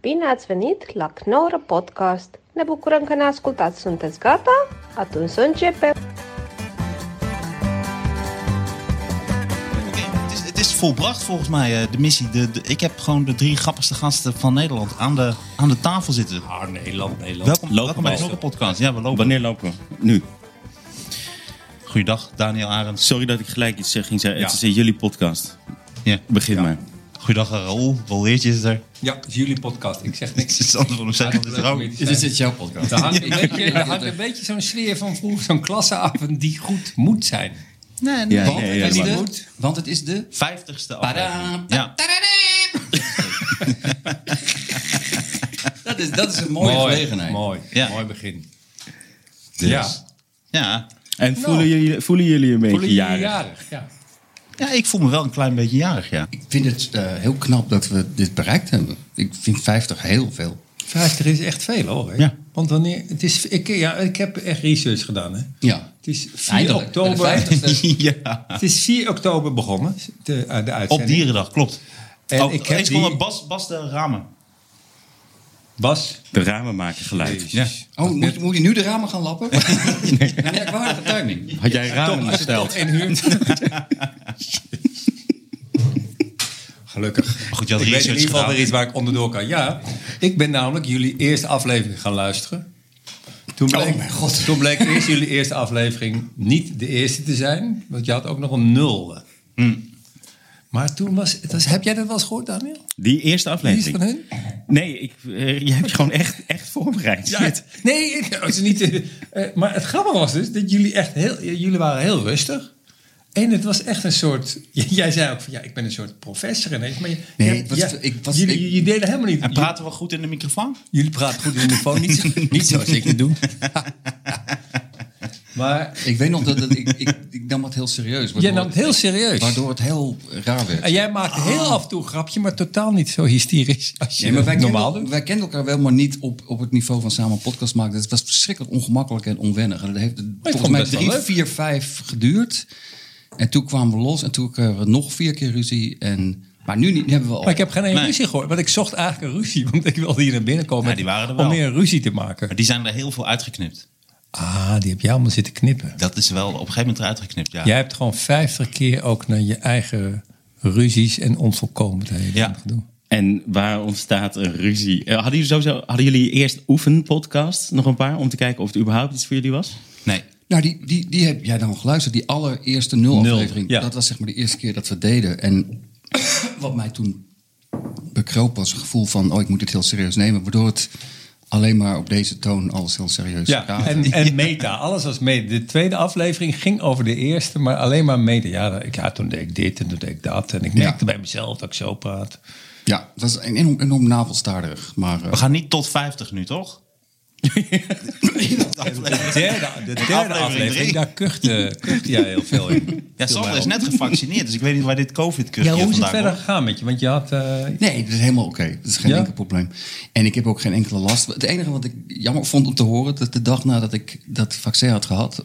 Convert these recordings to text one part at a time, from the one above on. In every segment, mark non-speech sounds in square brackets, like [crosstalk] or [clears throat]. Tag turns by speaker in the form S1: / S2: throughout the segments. S1: Bine ați venit la Knorr Podcast! Ne bucurăm că ne ascultați! Sunteți gata? Atunci să începem!
S2: Het is, het is volbracht volgens mij, eh, de missie. De, de- ik heb gewoon de drie grappigste gasten van Nederland aan de, aan de tafel zitten.
S3: Ah, Nederland, Nederland.
S2: Welkom,
S3: Lopen
S2: welkom bij de
S3: wij.
S2: Knokken Podcast. Ja, we lopen.
S3: Oh, Wanneer lopen we? Nu.
S2: Goeiedag, Daniel Arends.
S3: Sorry dat ik gelijk iets zeg, ging zeggen.
S2: Ja.
S3: Het is eh, jullie podcast.
S2: Ja.
S3: Begin maar.
S2: Goeiedag, Raoul. Wolleertje is er. [laughs]
S4: Ja, het is jullie podcast. Ik zeg
S2: Het
S4: niks.
S2: is anders van hem zeggen.
S4: Ja,
S2: dit
S4: leuk
S2: is
S4: om
S2: Raoul.
S4: hier
S5: Dus
S4: te zijn.
S3: jouw podcast?
S4: Er hangt, een beetje, er hangt een beetje zo'n sfeer van vroeger, zo'n klasseavond die goed moet zijn.
S2: Nee,
S3: Ja,
S2: nee.
S3: ja,
S4: Want,
S3: ja,
S4: het, is
S3: ja.
S4: de, want het is de...
S2: Vijftigste
S4: Tada,
S2: aflevering. Ja.
S4: Dat is, dat is een mooie mooi,
S3: gelegenheid.
S4: Mooi,
S2: Ja.
S4: mooi begin.
S3: Dus.
S4: Ja,
S2: Ja.
S3: En voelen, jullie, voelen jullie een beetje
S4: voelen jullie
S3: jarig?
S4: jarig. ja.
S2: ja, ik voel me wel een klein beetje jarig, ja. [laughs]
S5: Ik vind het eh, heel knap dat we dit bereikt hebben. Ik vind 50 heel veel.
S4: 50 is echt veel hoor. hè?
S2: Ja.
S4: Want wanneer, het is, ik, ja, ik heb echt research gedaan. Hè.
S5: Ja.
S4: Het is 4
S5: Eindelijk, bij de
S4: oktober.
S5: 50ste.
S2: ja.
S4: [laughs] Het is 4 oktober begonnen, de, de
S2: Op
S4: uitzending.
S2: Dierendag, klopt.
S4: En
S2: oh,
S4: ik heb
S2: eens kon
S4: die-
S2: Bas, Bas de Ramen.
S4: Bas,
S3: De ramen maken geluid.
S2: Ja.
S5: Oh, moet, moet je nu de ramen gaan [laughs] lappen? Een merkwaardige Nou, timing.
S3: Had jij ramen
S4: als het
S3: besteld?
S4: tot één uur. [laughs] Gelukkig.
S2: Maar goed, je had
S4: ik weet
S2: research
S4: in ieder geval
S2: gedaan.
S4: weer iets waar ik onderdoor kan. Ja, ik ben namelijk jullie eerste aflevering gaan luisteren. Toen bleek,
S5: Oh, mijn god.
S4: Toen bleek eerst jullie eerste aflevering niet de eerste te zijn. Want je had ook nog een nul.
S2: Hmm.
S4: Maar toen was, het was... Heb jij dat wel eens gehoord, Daniel?
S3: Die eerste
S4: Die is
S3: aflevering.
S4: van hun?
S3: Nee, ik, eh, jij hebt je gewoon echt, echt voorbereid.
S4: Ja, het- nee, het was niet. eh, eh, maar het grappige was dus dat jullie echt heel, eh, jullie waren heel rustig. En het was echt een soort. [laughs] j- Jij zei ook van ja, ik ben een soort professor ineens. Maar je,
S5: Nee,
S4: ja,
S5: wat-
S4: ja,
S5: ik was-
S4: jullie,
S5: ik-
S4: jullie deden helemaal niet.
S2: En praten we goed in de microfoon?
S4: jullie, jullie praten goed in de telefoon, niet, [laughs] zo- niet zoals ik het doe. [laughs] maar
S5: Ik weet nog dat het- ik, ik, ik nam het heel serieus.
S4: jij
S5: waardoor
S4: nam het heel serieus.
S5: Waardoor het heel raar werd.
S4: En eh, jij maakte heel af en toe een grapje, maar totaal niet zo hysterisch als je
S5: Nee, maar wij,
S4: normaal dus.
S5: kenden,
S4: doet.
S5: wij kenden elkaar wel, maar niet op, op het niveau van samen een podcast maken. Het was verschrikkelijk ongemakkelijk en onwennig. En dat heeft
S4: vond
S5: volgens
S4: het
S5: mij
S4: best wel
S5: drie,
S4: leuk.
S5: vier, vijf geduurd. En toen kwamen we los en toen kregen we nog vier keer ruzie. En, maar nu, niet, nu hebben we al...
S4: Maar ik heb geen
S2: Nee.
S4: ene ruzie gehoord, want ik zocht eigenlijk een ruzie. [laughs] Want ik wilde hier naar binnen komen
S2: Ja, die waren er
S4: om
S2: wel.
S4: meer ruzie te maken.
S2: Maar die zijn er heel veel uitgeknipt.
S4: Ah, die heb jij allemaal zitten knippen.
S2: Dat is wel op een gegeven moment eruit geknipt, ja.
S4: Jij hebt gewoon 50 keer ook naar je eigen ruzies en onvolkomenheden
S2: Ja.
S4: ja. doen.
S3: En waar ontstaat een ruzie? Eh, Hadden jullie, sowieso, hadden jullie eerst oefenpodcast, nog een paar, om te kijken of het überhaupt iets voor jullie was?
S2: Nee.
S5: Nou, die, die, die heb jij dan geluisterd. Die allereerste nul-aflevering.
S4: Nul, ja.
S5: Dat was zeg maar de eerste keer dat we deden. En wat mij toen bekroop was het gevoel van... oh, ik moet dit heel serieus nemen. Waardoor het alleen maar op deze toon alles heel serieus
S4: Ja,
S5: raakte.
S4: en, en meta. Alles was meta. De tweede aflevering ging over de eerste, maar alleen maar meta. Ja, dat- ik- ja toen deed ik dit en toen deed ik dat. En ik
S5: Ja.
S4: merkte bij mezelf dat ik zo praat.
S5: ja dat was een enorm, enorm navelstaardig. Maar eh,
S2: We gaan niet tot 50 nu,
S6: [laughs]
S2: toch?
S4: De derde, de derde
S2: Aflevering
S4: aflevering,
S2: drie.
S4: daar kuchte, [laughs] kuchte jij heel veel in.
S2: Ja, Sander is net gevaccineerd, dus ik weet niet waar dit covid
S4: Ja, hoe is het
S2: vandaan
S4: verder
S2: komt.
S4: gegaan met je? Want je had... eh,
S5: Nee, dat is helemaal oké. Dat is geen
S4: Ja?
S5: enkel probleem. En ik heb ook geen enkele last. Het enige wat ik jammer vond om te horen, dat de dag nadat ik dat vaccin had gehad, [laughs]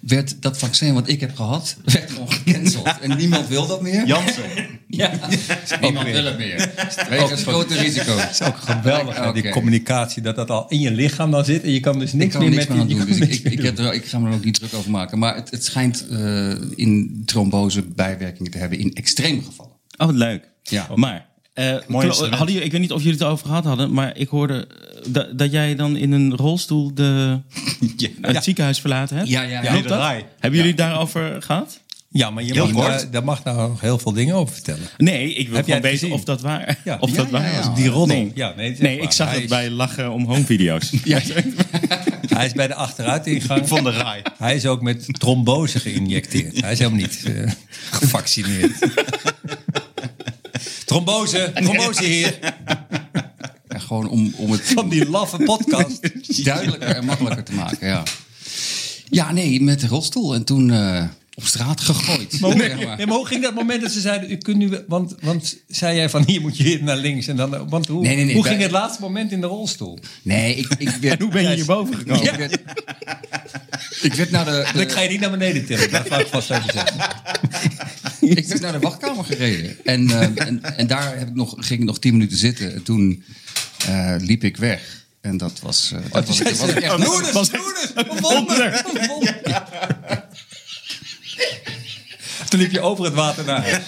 S5: werd dat vaccin wat ik heb gehad, [laughs] werd gewoon gecanceld. En niemand wil dat meer.
S6: [laughs]
S2: Jansen.
S4: [laughs] ja,
S5: [laughs] Niemand wil het
S4: [laughs]
S5: meer. Wegens het grote risico. Dat is ook
S4: geweldig. hè, Die communicatie, dat dat al in je lichaam dan zit. En je kan dus
S5: Ik
S4: niks
S5: kan er
S4: meer
S5: niks
S4: met
S5: meer aan
S4: die...
S5: doen,
S4: je
S5: dus
S4: kan
S5: ik,
S4: niks [laughs]
S5: ik, ik, heb er, ik ga me er ook niet druk over maken. Maar het, het schijnt eh, in trombose bijwerkingen te hebben in extreme gevallen.
S3: Oh, wat leuk.
S5: Ja.
S3: Maar, eh, kla-
S2: instrument.
S3: hadden jullie, ik weet niet of jullie het over gehad hadden, maar ik hoorde eh, dat- dat jij dan in een rolstoel de, het ziekenhuis verlaten hebt.
S5: Ja, ja, ja.
S3: Klopt
S5: Nee,
S2: de
S3: dat?
S2: rij.
S3: Hebben jullie daarover gehad?
S4: Ja, maar je
S2: Heel
S4: mag,
S2: kort.
S4: daar, daar mag nou nog heel veel dingen over vertellen.
S3: Nee, ik wil
S4: Heb jij
S3: gewoon
S4: het
S3: weten
S4: gezien?
S3: of dat waar,
S4: Ja.
S3: of
S4: Ja,
S3: dat
S5: ja,
S3: waar
S5: ja.
S3: was.
S4: Die roddel.
S3: Nee,
S4: Ja, nee, het is
S3: nee
S4: echt
S3: ik
S4: waar.
S3: zag
S4: Hij
S3: dat
S4: is-
S3: bij Lachen om Homevideo's.
S2: [laughs]
S5: Ja,
S4: Hij is bij de achteruitingang.
S2: Van de raai.
S4: Hij is ook met trombose geïnjecteerd. Hij is helemaal niet eh, gevaccineerd. trombose, trombose hier.
S5: Ja, gewoon om, om het
S4: Van die laffe podcast.
S5: duidelijker en makkelijker te maken, ja. Ja, nee, met de rolstoel en toen eh, op straat gegooid.
S4: Maar hoe,
S5: zeg maar.
S4: nee, maar hoe ging dat moment dat ze zeiden, u kunt nu... Want, want zei jij van, hier moet je naar links. En dan, want hoe,
S5: Nee, nee, nee,
S4: hoe
S5: wij-
S4: ging het laatste moment in de rolstoel?
S5: Nee, ik, ik werd...
S3: Hoe
S5: [laughs]
S3: ben je hierboven gekomen?
S5: Ik werd, ik werd naar de,
S4: Dan
S5: de-
S4: ga je niet naar beneden tillen. Dat ga ik vast even zeggen.
S5: ik werd naar de wachtkamer gereden. En, eh, en, en daar heb ik nog, ging ik nog tien minuten zitten. En toen eh, liep ik weg. En dat was, eh, dat was, ik- was ik echt
S4: Noorders,
S2: was-
S4: Noorders, een wonder, een wonder. Toen liep je over het water naar huis.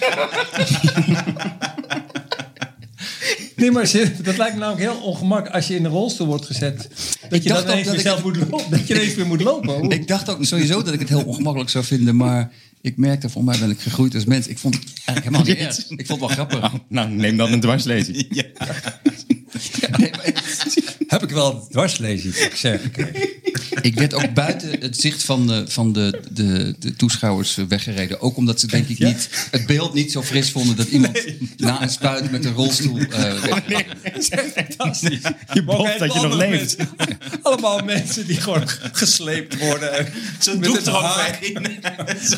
S4: Nee, maar serieus, dat lijkt me namelijk heel ongemakkelijk als je in de rolstoel wordt gezet. Dat Oh. je
S5: dacht
S4: dan ineens
S5: ook dat
S4: weer
S5: ik-
S4: zelf moet lopen. Dat je ineens weer moet lopen. Hoe-
S5: Ik dacht ook sowieso dat ik het heel ongemakkelijk zou vinden, maar ik merkte, volgens mij ben ik gegroeid als mens. Ik vond het eigenlijk helemaal niet erg. Ik vond het wel grappig.
S6: Nou, neem dan een
S2: [laughs]
S6: dwarslezing.
S5: Nee, maar ik-
S4: Heb ik wel een dwarslezing, ik zeg.
S5: ik werd ook buiten het zicht van de, van de, de, de toeschouwers eh, weggereden. Ook omdat ze denk ik niet, het beeld niet zo fris vonden dat iemand na een spuit met een rolstoel... eh,
S6: Oh,
S5: weg-
S4: Dat is echt fantastisch.
S6: Je
S4: Maar ook
S6: belooft
S4: heel
S6: dat je
S4: veel
S6: nog
S4: andere
S6: leeft.
S4: mensen. allemaal mensen die gewoon gesleept worden. Ze
S2: doek er ook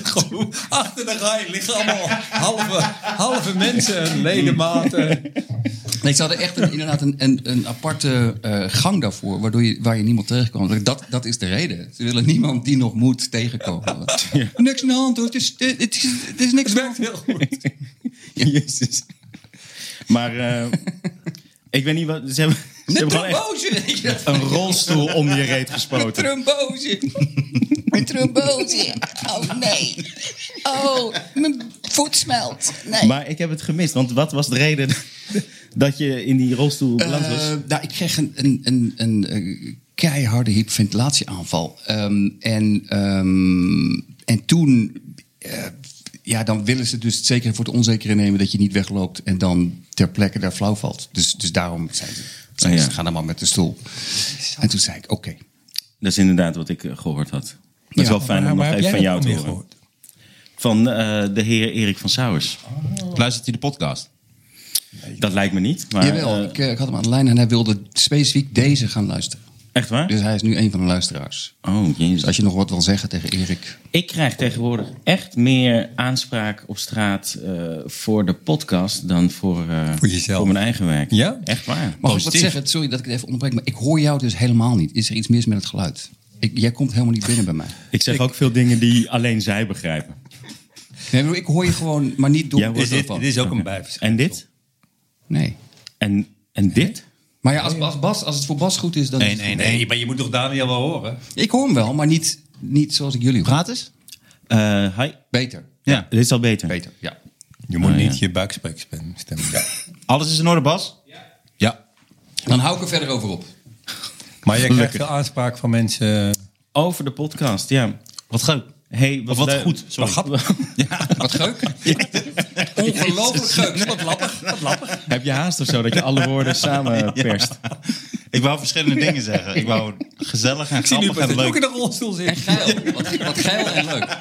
S4: Gewoon achter de rij liggen allemaal halve, halve mensen, ledematen.
S5: Nee, ze hadden echt een, inderdaad een, een, een aparte eh, gang daarvoor, waardoor je, waar je niemand tegenkomt. Dat, dat is de reden. Ze willen niemand die nog
S6: [laughs]
S5: moet tegenkomen. Niks aan de hand hoor, het is, het is, het is niks
S4: Het werkt heel goed.
S6: Jezus. Maar eh, [laughs] ik weet niet wat... Ze hebben, ze
S5: Een
S6: hebben gewoon echt
S5: trombose! [laughs] weet je.
S6: een rolstoel om je
S5: [laughs]
S6: reet
S5: Een
S6: gespoten.
S5: trombose! Een trombose! Oh nee! Oh, mijn voet smelt! Nee.
S6: Maar ik heb het gemist, want wat was de reden [laughs] dat je in die rolstoel beland was?
S5: Eh, nou, ik kreeg een, een, een, een eh, keiharde hyperventilatieaanval. Ehm, en, ehm, en toen, eh, ja, dan willen ze dus het zekere voor het onzekere nemen dat je niet wegloopt en dan ter plekke daar flauw valt. Dus, dus daarom zijn ze, zeiden
S6: Ah, ja.
S5: ze, ga dan maar met de stoel. En toen zei ik, oké.
S6: Dat is inderdaad wat ik eh, gehoord had. Dat is
S5: Ja,
S6: wel fijn
S4: maar
S6: om nog
S4: waar heb
S6: even van
S4: jij
S6: jou
S4: dat
S6: te
S4: dan weer
S6: horen. Van eh, de heer Erik van Sauers.
S4: Oh,
S2: Luistert hij de podcast?
S6: Dat lijkt me niet, maar
S5: Jawel,
S6: eh,
S5: ik, eh, ik had hem aan de lijn en hij wilde specifiek deze gaan luisteren.
S6: echt waar?
S5: Dus hij is nu een van de luisteraars.
S6: Oh, jezus.
S5: Dus als je nog wat wil zeggen tegen Erik.
S3: Ik krijg tegenwoordig echt meer aanspraak op straat eh, voor de podcast dan voor, eh,
S4: Voor jezelf.
S3: voor mijn eigen werk.
S4: Ja?
S3: Echt waar.
S5: Mag ik wat
S6: Positief.
S5: zeggen? Sorry dat ik het even onderbreek, maar ik hoor jou dus helemaal niet. Is er iets mis met het geluid? Ik, jij komt helemaal niet binnen bij mij.
S6: Ik zeg ook veel dingen die alleen zij begrijpen.
S5: Nee, ik bedoel, ik hoor je gewoon, maar niet door
S6: Jij
S5: de
S6: hoort
S5: telefoon.
S4: ook een bijverschil.
S6: En dit?
S5: Nee.
S6: En, en dit?
S5: Maar ja, als, Bas, Bas, als het voor Bas goed is, dan... is
S2: Nee,
S5: het
S2: nee,
S5: goed.
S2: nee.
S4: maar je moet toch Daniel wel horen?
S5: Ik hoor hem wel, maar niet, niet zoals ik jullie hoor.
S2: Praat eens.
S6: Eh, hi.
S5: Beter.
S2: Ja.
S6: Dit is al beter.
S5: Beter, ja.
S4: Je moet niet je buikspreek stemmen. Ja.
S2: Alles is in orde, Bas?
S4: ja.
S5: Dan hou ik er verder over op.
S4: [laughs] Maar je krijgt veel aanspraak van mensen. eh,
S6: Over de podcast, ja.
S2: Wat goed.
S6: Hey, wat,
S2: Of wat
S6: leuk.
S2: goed, sorry.
S5: Wat geuk. Ongelooflijk geuk. Wat lappig. Wat lappig.
S6: [laughs] Heb je haast of zo dat je alle woorden samen perst?
S2: Ik wou
S5: [laughs]
S2: verschillende dingen zeggen. Ik wou gezellig en
S4: Die nu
S2: grappig en
S4: ook in
S2: leuk.
S4: de rolstoel zitten.
S5: Geil. Wat, wat geil en leuk.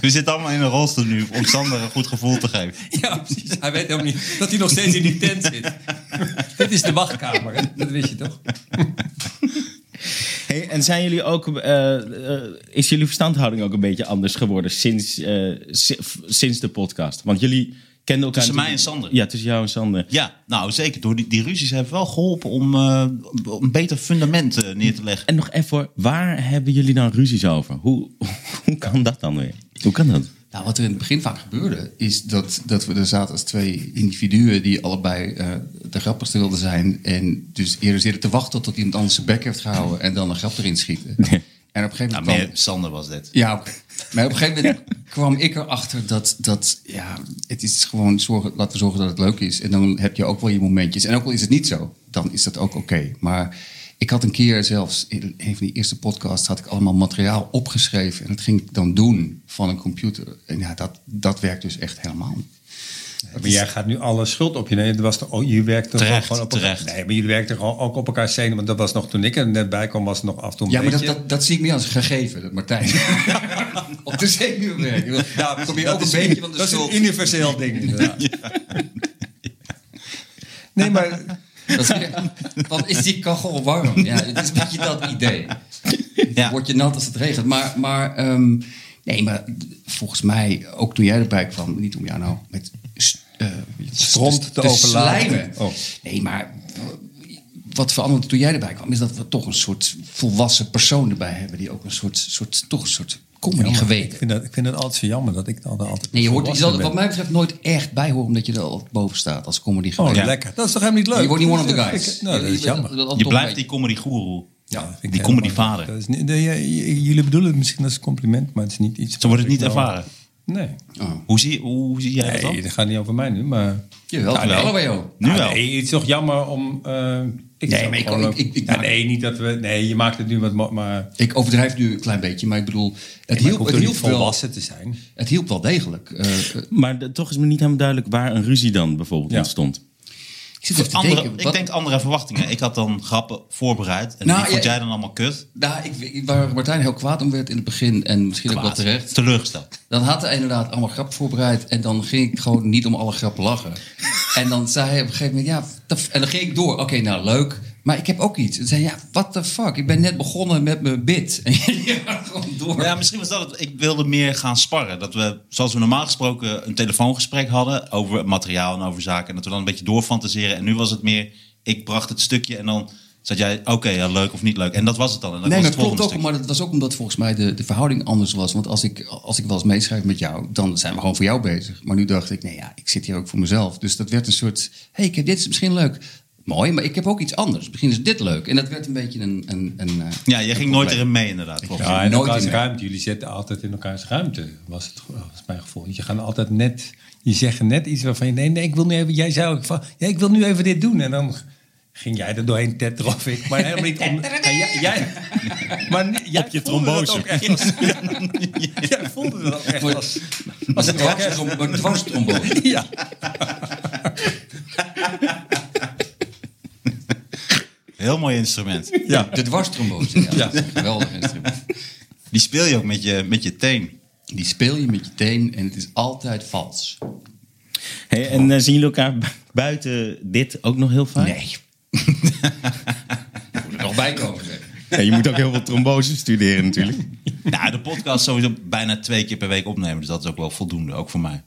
S2: We zitten allemaal in een rolstoel nu om Sander een goed gevoel te geven.
S4: Ja, precies. Hij weet ook niet dat hij nog steeds in die tent zit. Dit is de wachtkamer, hè? dat weet je toch?
S6: Hey, en zijn jullie ook, eh, eh, is jullie verstandhouding ook een beetje anders geworden sinds, eh, si- f- sinds de podcast? Want jullie kenden elkaar...
S2: Tussen mij
S6: natuurlijk-
S2: en Sander.
S6: Ja, tussen jou en Sander.
S2: Ja, nou zeker. Door die, die ruzies hebben wel geholpen om eh, om een beter fundament eh, neer te leggen.
S6: En nog even, hoor, waar hebben jullie dan ruzies over? Hoe, [laughs] hoe kan dat dan weer? Hoe kan dat?
S5: Nou, wat er in het begin vaak gebeurde, is dat, dat we er zaten als twee individuen die allebei eh, de grappigste wilden zijn. En dus eerder zitten te wachten tot iemand anders zijn bek heeft gehouden en dan een grap erin schieten. En op een gegeven
S2: Nou,
S5: moment.
S2: meer
S5: kwam,
S2: Sander was dit.
S5: ja, oké. maar op een gegeven moment kwam ik erachter dat, dat ja, het is gewoon zorgen, laten we zorgen dat het leuk is. En dan heb je ook wel je momentjes. En ook al is het niet zo, dan is dat ook oké. Maar ik had een keer zelfs, in een van die eerste podcasts, had ik allemaal materiaal opgeschreven. En dat ging ik dan doen van een computer. En ja, dat, dat werkt dus echt helemaal niet.
S4: Maar jij gaat nu alle schuld op je nemen. Dat was toch, oh, jullie werkten
S2: Terecht,
S4: gewoon op
S2: terecht.
S4: Nee, maar jullie werkten gewoon ook op elkaar zenuwen. Want dat was nog toen ik er net bij kwam, was het nog af en toe een
S5: Ja, maar dat,
S4: beetje.
S5: dat, dat zie ik meer als een gegeven, dat
S4: [laughs]
S5: Martijn. Op de zenuwwerk.
S4: Ja,
S5: Ja, kom je
S4: dat
S5: ook
S4: is-
S5: een beetje van de
S4: Dat is
S5: schuld.
S4: een universeel ding, inderdaad. Nee, maar
S5: Dat is weer- want is die kachel warm? Ja, het is een beetje dat idee.
S2: Ja.
S5: Word je nat als het regent. Maar, maar ehm, nee, maar volgens mij, ook toen jij erbij kwam, niet om jou nou met s- eh,
S4: Stront
S5: te-
S4: te
S5: te
S4: overladen.
S5: slijmen.
S4: Oh.
S5: Nee, maar wat veranderde toen jij erbij kwam, is dat we toch een soort volwassen persoon erbij hebben. Die ook een soort, soort toch een soort comedy
S4: Jammer.
S5: geweken.
S4: Ik vind, dat, ik vind dat altijd zo jammer dat ik dan altijd.
S5: Nee, je hoort je
S4: volwassen
S5: zal er wat
S4: ben.
S5: mij betreft nooit echt bij horen omdat je er al boven staat als comedy
S4: Oh,
S5: geweken.
S4: lekker. Dat is toch helemaal niet leuk?
S5: Je wordt niet one of the
S4: Dat is-
S5: guys.
S4: Nou, dat is jammer.
S2: Je blijft die comedy guru.
S4: Ja, dat vind ik
S2: Die
S4: helemaal-
S2: comedyvader.
S4: dat is niet- nee, ja, j- Jullie bedoelen het misschien als een compliment, maar het is niet iets.
S2: Zo wordt het
S4: wat
S2: niet
S4: ik nou-
S2: ervaren.
S4: Nee.
S2: Hoe zie, hoe zie jij dat
S4: Nee,
S2: dan?
S4: dat gaat niet over mij nu, maar.
S5: Jawel,
S4: Nou, nee.
S5: wel bij jou.
S2: Nu
S4: Nou,
S2: wel.
S4: Nee, het is toch jammer om. eh, ik
S5: Nee,
S4: zou
S5: maar ik-
S4: gewoon
S5: ik-
S4: ook-
S5: ik- ik
S4: Ja,
S5: maak-
S4: nee, niet dat we. Nee, je maakt het nu wat. mo- Maar het
S5: Ik overdrijf nu een klein beetje, maar ik bedoel, het hielp,
S4: hoeft
S5: het
S4: toch
S5: hielp,
S4: niet
S5: wel,
S4: volwassen te zijn.
S5: het hielp wel degelijk. Eh, eh,
S6: Maar de- toch is me niet helemaal duidelijk waar een ruzie dan bijvoorbeeld
S4: Ja.
S6: ontstond.
S5: ik zit even te
S2: Andere,
S5: denken.
S2: ik
S5: wat-
S2: denk andere verwachtingen. Ik had dan grappen voorbereid. En
S5: Nou,
S2: die vond
S5: ja,
S2: jij dan allemaal kut.
S5: nou, ik, ik- waar Martijn heel kwaad om werd in het begin en misschien ook wel
S2: Kwaad.
S5: terecht.
S2: Teleurgesteld.
S5: Dan had hij inderdaad allemaal grappen voorbereid. En dan ging ik gewoon niet om alle grappen lachen. En dan zei hij op een gegeven moment, ja... taf- En dan ging ik door. Oké, nou leuk. Maar ik heb ook iets. En zei hij, ja, what the fuck? Ik ben net begonnen met mijn bit. [laughs] En je gaat gewoon door.
S2: Ja, misschien was dat het. Ik wilde meer gaan sparren. Dat we, zoals we normaal gesproken, een telefoongesprek hadden over materiaal en over zaken. En dat we dan een beetje doorfantaseren. En nu was het meer, ik bracht het stukje en dan zat jij, oké, ja, leuk of niet leuk. En dat was het dan. En dat
S5: Nee,
S2: was
S5: dat
S2: het
S5: klopt
S2: volgende
S5: ook.
S2: stuk.
S5: Maar dat was ook omdat volgens mij de, de verhouding anders was. Want als ik, als ik wel eens meeschrijf met jou, dan zijn we gewoon voor jou bezig. Maar nu dacht ik, nee ja, ik zit hier ook voor mezelf. Dus dat werd een soort, hey, ik heb dit, is misschien leuk. Mooi, maar ik heb ook iets anders. Misschien is dit leuk. En dat werd een beetje een... een, een eh,
S2: Ja, jij
S5: een
S2: ging nooit
S5: probleem.
S2: erin mee inderdaad. klopt.
S4: Ja, in
S5: nooit
S4: elkaars
S5: in mee.
S4: ruimte. Jullie zitten altijd in elkaars ruimte, was het was mijn gevoel. Want je gaat altijd net, je zegt net iets waarvan je, nee, nee, ik wil nu even, jij zei ook van, ja, ik wil nu even dit doen. En dan ging jij er doorheen tetteren of ik, maar helemaal niet om, en jij, jij, maar ni- jij
S2: Op je
S4: voelde dat
S2: trombose.
S4: ook echt
S5: [laughs]
S4: als- Jij voelde dat ook echt als, als een
S5: Dwars-
S4: orkest.
S5: trom- een dwarstrombone.
S4: Ja.
S2: Heel mooi instrument.
S4: Ja.
S5: De dwarstrombone, ja.
S4: Ja.
S5: Dat is een geweldig instrument.
S2: Die speel je ook met je, met je teen.
S5: Die speel je met je teen en het is altijd vals.
S6: Hey, en eh, zien jullie elkaar bu- buiten dit ook nog heel vaak?
S5: Nee. moet er nog bij komen.
S6: [laughs]
S5: zeg.
S6: Ja, je moet ook heel veel trombose studeren natuurlijk.
S2: Nou, de podcast sowieso bijna twee keer per week opnemen. Dus dat is ook wel voldoende, ook voor mij.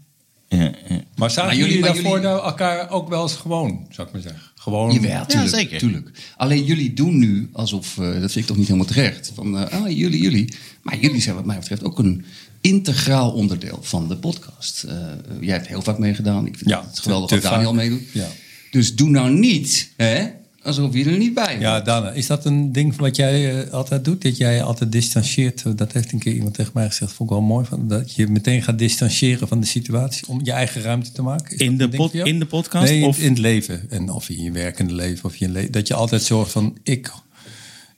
S6: Ja, ja.
S4: Maar zagen
S5: Maar jullie-
S4: jullie,
S5: maar
S4: daarvoor
S5: jullie-
S4: nou elkaar ook wel eens gewoon, zou ik maar zeggen? Gewoon.
S5: Jawel, tuurlijk,
S2: zeker.
S5: tuurlijk. Alleen jullie doen nu alsof, eh, dat vind ik toch niet helemaal terecht, van eh, ah, jullie, jullie. Maar jullie zijn wat mij betreft ook een integraal onderdeel van de podcast. Eh, jij hebt heel vaak meegedaan. Ik vind
S4: Ja,
S5: het geweldig
S4: te-
S5: dat
S4: te
S5: Daniel
S4: vaak.
S5: meedoet.
S4: Ja.
S5: Dus doe nou niet hè, alsof jullie er niet bij horen.
S4: Ja, Dana, is dat een ding wat jij eh, altijd doet? Dat jij je altijd distancieert? Eh, Dat heeft een keer iemand tegen mij gezegd. Vond ik wel mooi. Van, dat je meteen gaat distancieren van de situatie om je eigen ruimte te maken. Is dat
S6: In de
S4: een ding
S6: pod-
S4: voor jou?
S6: in de podcast
S4: Nee, in-
S6: of-
S4: in het leven. En of in je werkende leven. Of je le- dat je altijd zorgt van ik,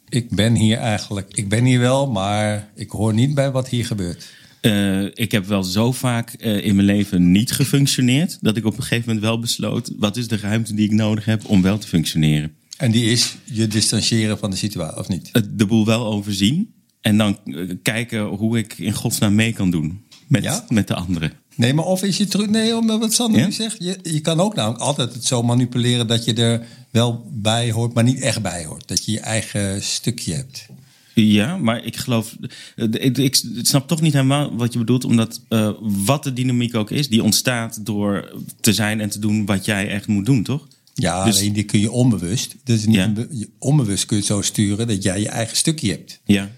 S4: ik ben hier eigenlijk. Ik ben hier wel, maar ik hoor niet bij wat hier gebeurt.
S6: Eh, ik heb wel zo vaak eh, in mijn leven niet gefunctioneerd. dat ik op een gegeven moment wel besloot. wat is de ruimte die ik nodig heb om wel te functioneren?
S4: En die is je distancieren van de situatie, of niet?
S6: Het de boel wel overzien. en dan eh, kijken hoe ik in godsnaam mee kan doen. met,
S4: Ja?
S6: met de anderen.
S4: Nee, maar of is je terug? Nee, omdat wat Sander
S6: Ja?
S4: nu zegt. Je, je kan ook namelijk altijd het zo manipuleren dat je er wel bij hoort, maar niet echt bij hoort. Dat je je eigen stukje hebt.
S6: Ja, maar ik geloof. eh, Ik, ik snap toch niet helemaal wat je bedoelt. Omdat eh, wat de dynamiek ook is, die ontstaat door te zijn en te doen wat jij echt moet doen, toch?
S4: Ja,
S6: Dus-
S4: alleen die kun je onbewust. Dus niet
S6: Ja.
S4: een be- je- onbewust kun je het zo sturen dat jij je eigen stukje hebt.
S6: Ja.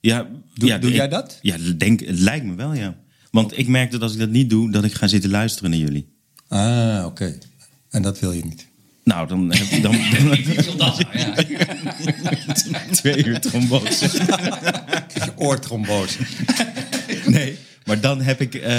S6: ja
S4: Doe-
S6: ja,
S4: doe
S6: ik-
S4: jij dat?
S6: Ja, denk, het lijkt me wel, ja. Want ik merk dat als ik dat niet doe, dat ik ga zitten luisteren naar jullie.
S4: Ah, oké. En dat wil je niet.
S6: Nou, dan heb je dan,
S5: Ik wil dat nou, ja.
S6: [laughs] twee uur trombose.
S4: Je oortrombose.
S6: Nee, maar dan heb ik... eh,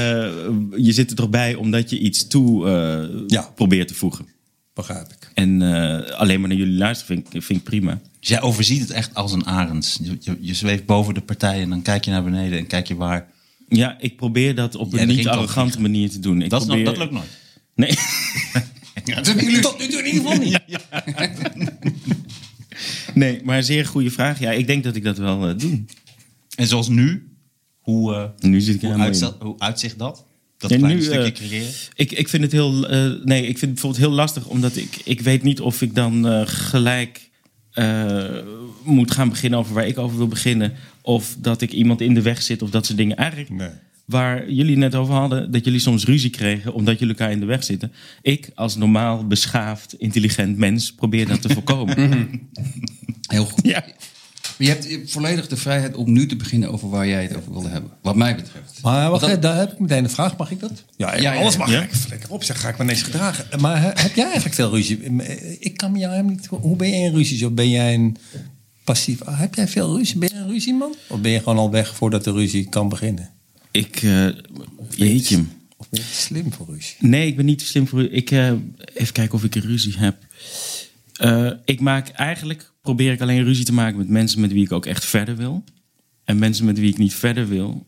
S6: je zit er toch bij omdat je iets toe eh,
S4: Ja.
S6: probeert te voegen.
S4: Begrijp ik.
S6: En eh, alleen maar naar jullie luisteren vind ik, vind ik prima.
S2: Dus jij overziet het echt als een arend. Je, je, je zweeft boven de partijen en dan kijk je naar beneden en kijk je waar.
S6: Ja, ik probeer dat
S2: Ja,
S6: op een
S2: dat ging toch
S6: niet-arrogante manier te doen. Ik
S2: Dat, is nog-
S6: probeer...
S2: dat lukt nooit.
S6: Nee. [laughs]
S5: Dat hebben jullie tot nu toe in ieder geval niet.
S6: nee, maar een zeer goede vraag. Ja, ik denk dat ik dat wel eh, doe.
S2: En zoals nu, hoe, eh,
S6: Nu zit ik
S2: hoe,
S6: helemaal in.
S2: uitzicht, hoe uitzicht dat? Dat
S6: Ja,
S2: kleine
S6: nu,
S2: stukje
S6: eh,
S2: creëren?
S6: Ik, ik vind het heel. eh, nee, ik vind het bijvoorbeeld heel lastig, omdat ik, ik weet niet of ik dan eh, gelijk eh, moet gaan beginnen over waar ik over wil beginnen. Of dat ik iemand in de weg zit of dat soort dingen. Eigenlijk
S4: Nee.
S6: waar jullie net over hadden, dat jullie soms ruzie kregen omdat jullie elkaar in de weg zitten. Ik als normaal beschaafd, intelligent mens probeer dat te voorkomen.
S5: Heel goed.
S6: ja.
S5: Maar je hebt je hebt volledig de vrijheid om nu te beginnen over waar jij het over wilde hebben. Wat mij betreft.
S4: Maar wacht,
S5: Want
S4: hè, daar heb ik meteen een vraag. Mag ik dat? Ja,
S5: Ja, ja,
S4: alles
S5: ja.
S4: mag.
S2: Ja?
S4: Ik flikker op, zeg, ga ik me ineens gedragen. Maar hè, heb jij eigenlijk veel ruzie? eh, Ik kan me jou helemaal niet... Hoe ben jij in ruzies? Of ben jij een passief... Heb jij veel ruzie? Ben jij een ruzieman? Of ben je gewoon al weg voordat de ruzie kan beginnen?
S6: Ik, eh jeetje.
S4: Of ben je te slim voor ruzie?
S6: Nee, ik ben niet te slim voor u. Ik, eh, even kijken of ik een ruzie heb. Eh, ik maak eigenlijk, probeer ik alleen ruzie te maken met mensen met wie ik ook echt verder wil. En mensen met wie ik niet verder wil,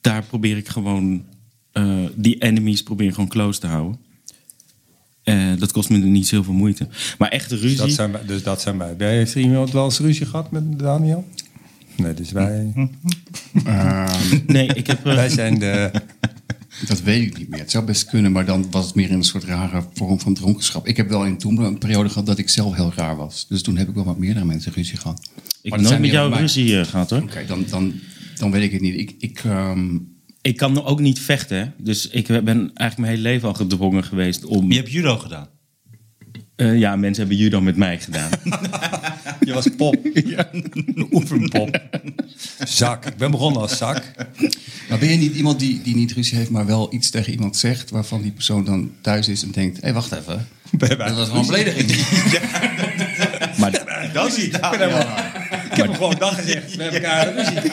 S6: daar probeer ik gewoon, eh, die enemies probeer ik gewoon close te houden. Eh, dat kost me niet zoveel moeite. Maar echte ruzie.
S4: Dat zijn wij, dus dat zijn wij. Jij- Heeft er iemand wel eens ruzie gehad met Daniel? Nee, dus wij,
S6: Nee,
S4: [laughs]
S6: ik heb. eh,
S4: wij zijn de...
S5: Dat weet ik niet meer. Het zou best kunnen, maar dan was het meer in een soort rare vorm van dronkenschap. Ik heb wel in toen een periode gehad dat ik zelf heel raar was. Dus toen heb ik wel wat meerdere mensen ruzie gehad.
S6: ik
S5: Maar
S6: heb
S5: dat
S6: nooit
S5: zijn
S6: met
S5: meer
S6: jou
S5: mij.
S6: ruzie eh, gehad hoor.
S5: Oké, dan, dan, dan weet ik het niet. Ik, ik, ehm,
S6: Ik kan ook niet vechten. hè. Dus ik ben eigenlijk mijn hele leven al gedwongen geweest om.
S2: Je hebt judo gedaan.
S6: Eh, ja, mensen hebben judo met mij
S4: [laughs]
S6: gedaan.
S4: Je was pop. Oefenpop. Zak. Ik ben begonnen als zak.
S5: maar ben je niet iemand die, die niet ruzie heeft, maar wel iets tegen iemand zegt... waarvan die persoon dan thuis is en denkt... hé, hey,
S6: [laughs]
S5: wacht even,
S4: Bij
S5: dat was gewoon een belediging.
S6: maar
S2: Dat is niet
S4: Ik heb hem gewoon dag gezegd. We hebben elkaar ruzie.